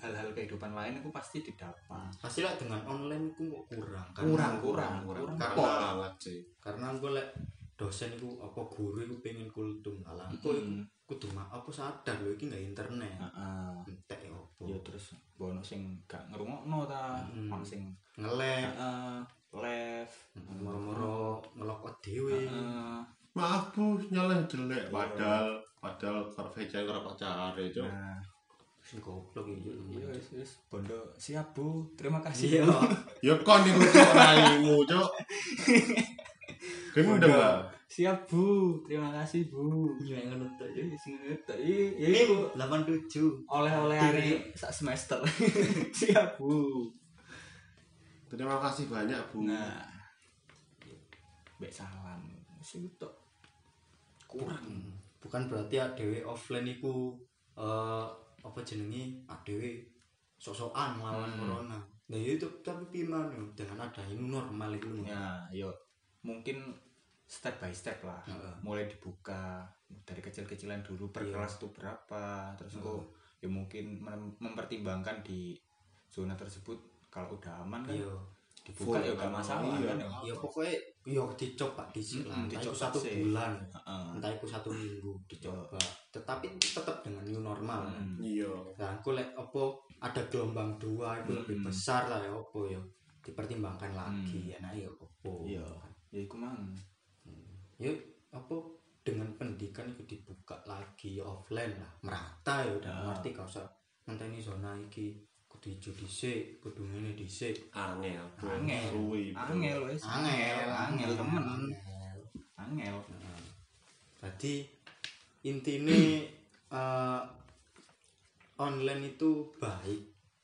C: hal-hal kehidupan lain itu pasti didapat
B: pasti lah dengan online itu kok kurang kan
C: Kurang, kurang, kurang.
A: karena
C: Pol.
A: banget sih
B: karena gue lek dosen itu apa guru itu pengen kultum lah
C: Mm-mm.
B: aku itu kudu ma aku sadar loh ini nggak internet
C: Hmm. Ah, ah.
B: entek ya apa
C: yo terus bono sing gak ngerungokno ta
B: Hmm. Eh.
C: ono sing
B: ngelek
C: ah, ah, live
B: Hmm. moro-moro ngelokot dewe
C: Ah,
A: maaf bu nyala jelek padahal padal kerja yang rapat cari
C: ah.
A: itu
C: nah
B: sing goblok iki
C: Iya, wis, wis. Bondo siap, Bu. Terima
B: iya
C: kasih.
A: ya kon itu orangmu cok gendeng
C: Bondo.
A: lah
C: Siap, Bu. Terima kasih, Bu.
B: iya yang ngono tok ya
C: Iya, sing ngetok. Iya, iya,
B: ini
C: Bu.
B: 87
C: Oleh-oleh hari sak semester. siap, Bu.
A: terima kasih banyak bu
C: Nah. Mbak salam. Sing tok. Kurang.
B: Hmm. bukan berarti adewe offline iku eh apa jenenge adewe sosokan lawan
C: Hmm.
B: corona nah itu tapi piman yo dengan adanya normal itu lho.
C: Ya, yo. Mungkin step by step lah.
B: Heeh.
C: Mulai dibuka dari kecil-kecilan dulu per
B: Iya.
C: kelas tuh berapa. Terus
B: Heeh.
C: kok ya mungkin mem- mempertimbangkan di zona tersebut kalau udah aman kan
B: iya
C: dibuka
A: Full
C: ya gak
A: kan,
C: masalah
A: iya.
C: kan ya
B: ya pokoknya yo dicoba dhisik lah
C: Mm-mm,
B: entah itu
C: dicoba
B: satu
C: sih.
B: bulan
C: Heeh.
B: entah itu satu minggu dicoba tetapi tetap dengan new normal
C: Hmm.
A: iya
B: nah aku lihat apa ada gelombang dua itu lebih
C: Mm-mm.
B: besar lah ya apa ya dipertimbangkan lagi
C: Mm.
B: ya nah ya apa
C: Iya. ya iku mang
B: ya apa dengan pendidikan itu dibuka lagi ya, offline lah merata ya udah
C: Nah.
B: ngerti gak usah ngenteni zona iki kudu ijo dhisik kudu ngene dhisik
A: angel Bu.
C: Angel.
A: Suwi, Bu.
C: angel wes
B: angel
C: angel temen
B: Angel.
C: angel
B: Nah, Jadi intinya eh, online itu baik,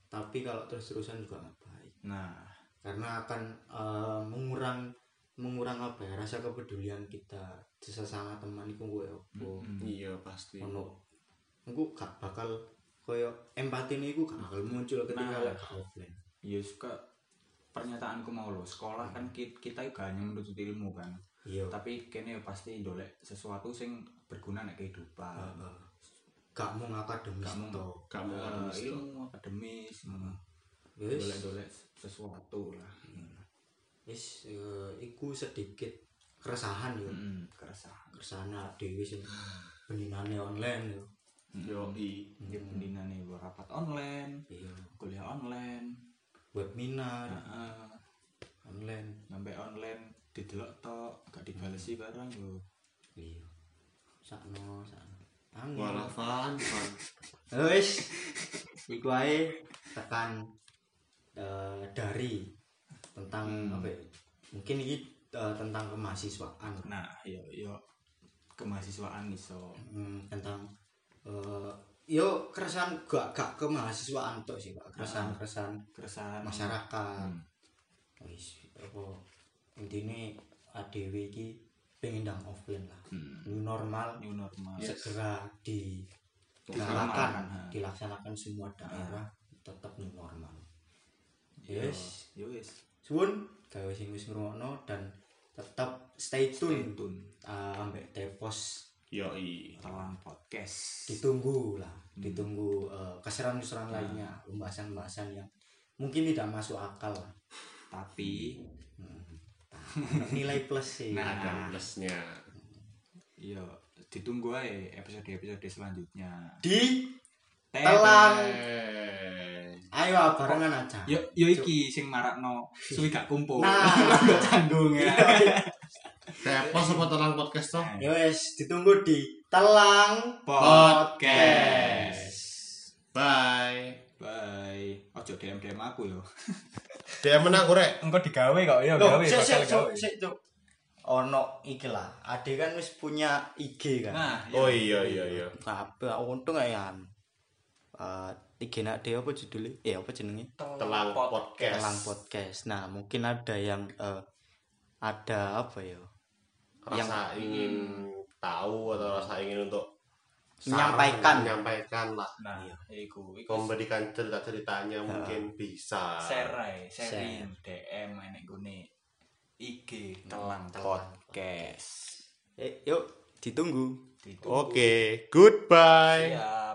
B: tapi kalau terus-terusan juga nggak baik,
C: nah
B: karena akan eh, mengurang mengurang apa ya rasa kepedulian kita sesama teman itu gue opo
C: mm,
A: iya pasti
B: ono gue gak bakal koyo empati ini gue gak bakal muncul ketika
C: Nah.
B: lek offline
C: ya suka pernyataanku mau lo sekolah kan ki- kita juga hanya menuntut ilmu kan
B: iya
C: tapi kene ya pasti dolek sesuatu sing berguna nek kehidupan
B: Heeh. gak mau ngakademis
C: Gak mau.
B: toh.
A: kamu
C: Eh,
A: kan mesti
C: ilmu akademis
B: Wis.
C: dolek dolek sesuatu lah
B: wis eh, iku sedikit keresahan ya, yo
C: Mm, keresahan
B: keresahan dhewe sing beninane online ya. yo
C: Hmm.
A: yo i
C: Dia pendinane buat rapat online,
B: iya
C: kuliah online, Nah.
B: webinar
C: heeh.
B: online
C: nambah online didelok tok, gak dibalesi barang yo.
B: iya sakno sakno angin
A: Wah, fan, fan.
B: wis iku ae tekan eh, dari tentang
C: Hmm.
B: apa ya mungkin iki eh, tentang kemahasiswaan
C: Nah, yo yo kemahasiswaan iso.
B: Hmm, tentang eh, yo keresahan gak gak kemahasiswaan tok sih Pak. keresahan keresahan
C: Keresahan
B: masyarakat
C: Hmm.
B: wis apa intine ADW iki pengen dang offline lah
C: Hmm.
B: new normal
C: new normal.
A: Yes.
B: segera di
C: Dilaksanakan,
B: dilaksanakan
C: ha.
B: dilaksanakan semua daerah tetap new normal yes
C: Yo yo wis.
B: suwun gawe sing wis ngrungokno dan tetap stay
C: Stay
B: tune
C: tune.
B: Ah, ambek tepos
A: yo i
C: Telan podcast.
B: ditunggu lah
C: Hmm.
B: ditunggu eh, keseruan-keseruan lainnya pembahasan-pembahasan yang mungkin tidak masuk akal lah
C: Tapi
B: Hmm. nilai plus sih
C: Nah.
A: ada plusnya
C: yo ditunggu ae episode-episode selanjutnya.
B: di
C: Telan.
A: eh
B: ayo barengan aja
C: Yo yo iki sing marakno suwi gak kumpul.
B: Nah.
C: Gak canggung ya.
A: Tepo sama telang podcast toh
B: ya wes ditunggu di telang
C: Podcast.
A: bye
C: Bye. Ojo DM DM aku yo.
A: dia menang korek
C: Engko digawe kok yo
B: Loh, sik sik cuk, sik cuk. Ono iki lah. Ade kan wis punya IG kan.
C: Nah,
A: oh iya iya iya
B: Kabeh untung ae kan. Eh IG nak dhewe apa judulnya? Eh apa jenenge?
A: telang podcast
B: Telang podcast. Nah, mungkin ada yang eh, ada apa ya?
A: rasa ingin tahu atau rasa ingin untuk saran,
B: Menyampaikan.
A: menyampaikan lah
C: Nah, iku iku
A: memberikan cerita ceritanya mungkin bisa
C: share ae,
B: Share.
C: sharing DM ae nek gone IG telang podcast.
B: Eh, yuk ditunggu.
C: Ditunggu.
A: oke goodbye
C: Ya.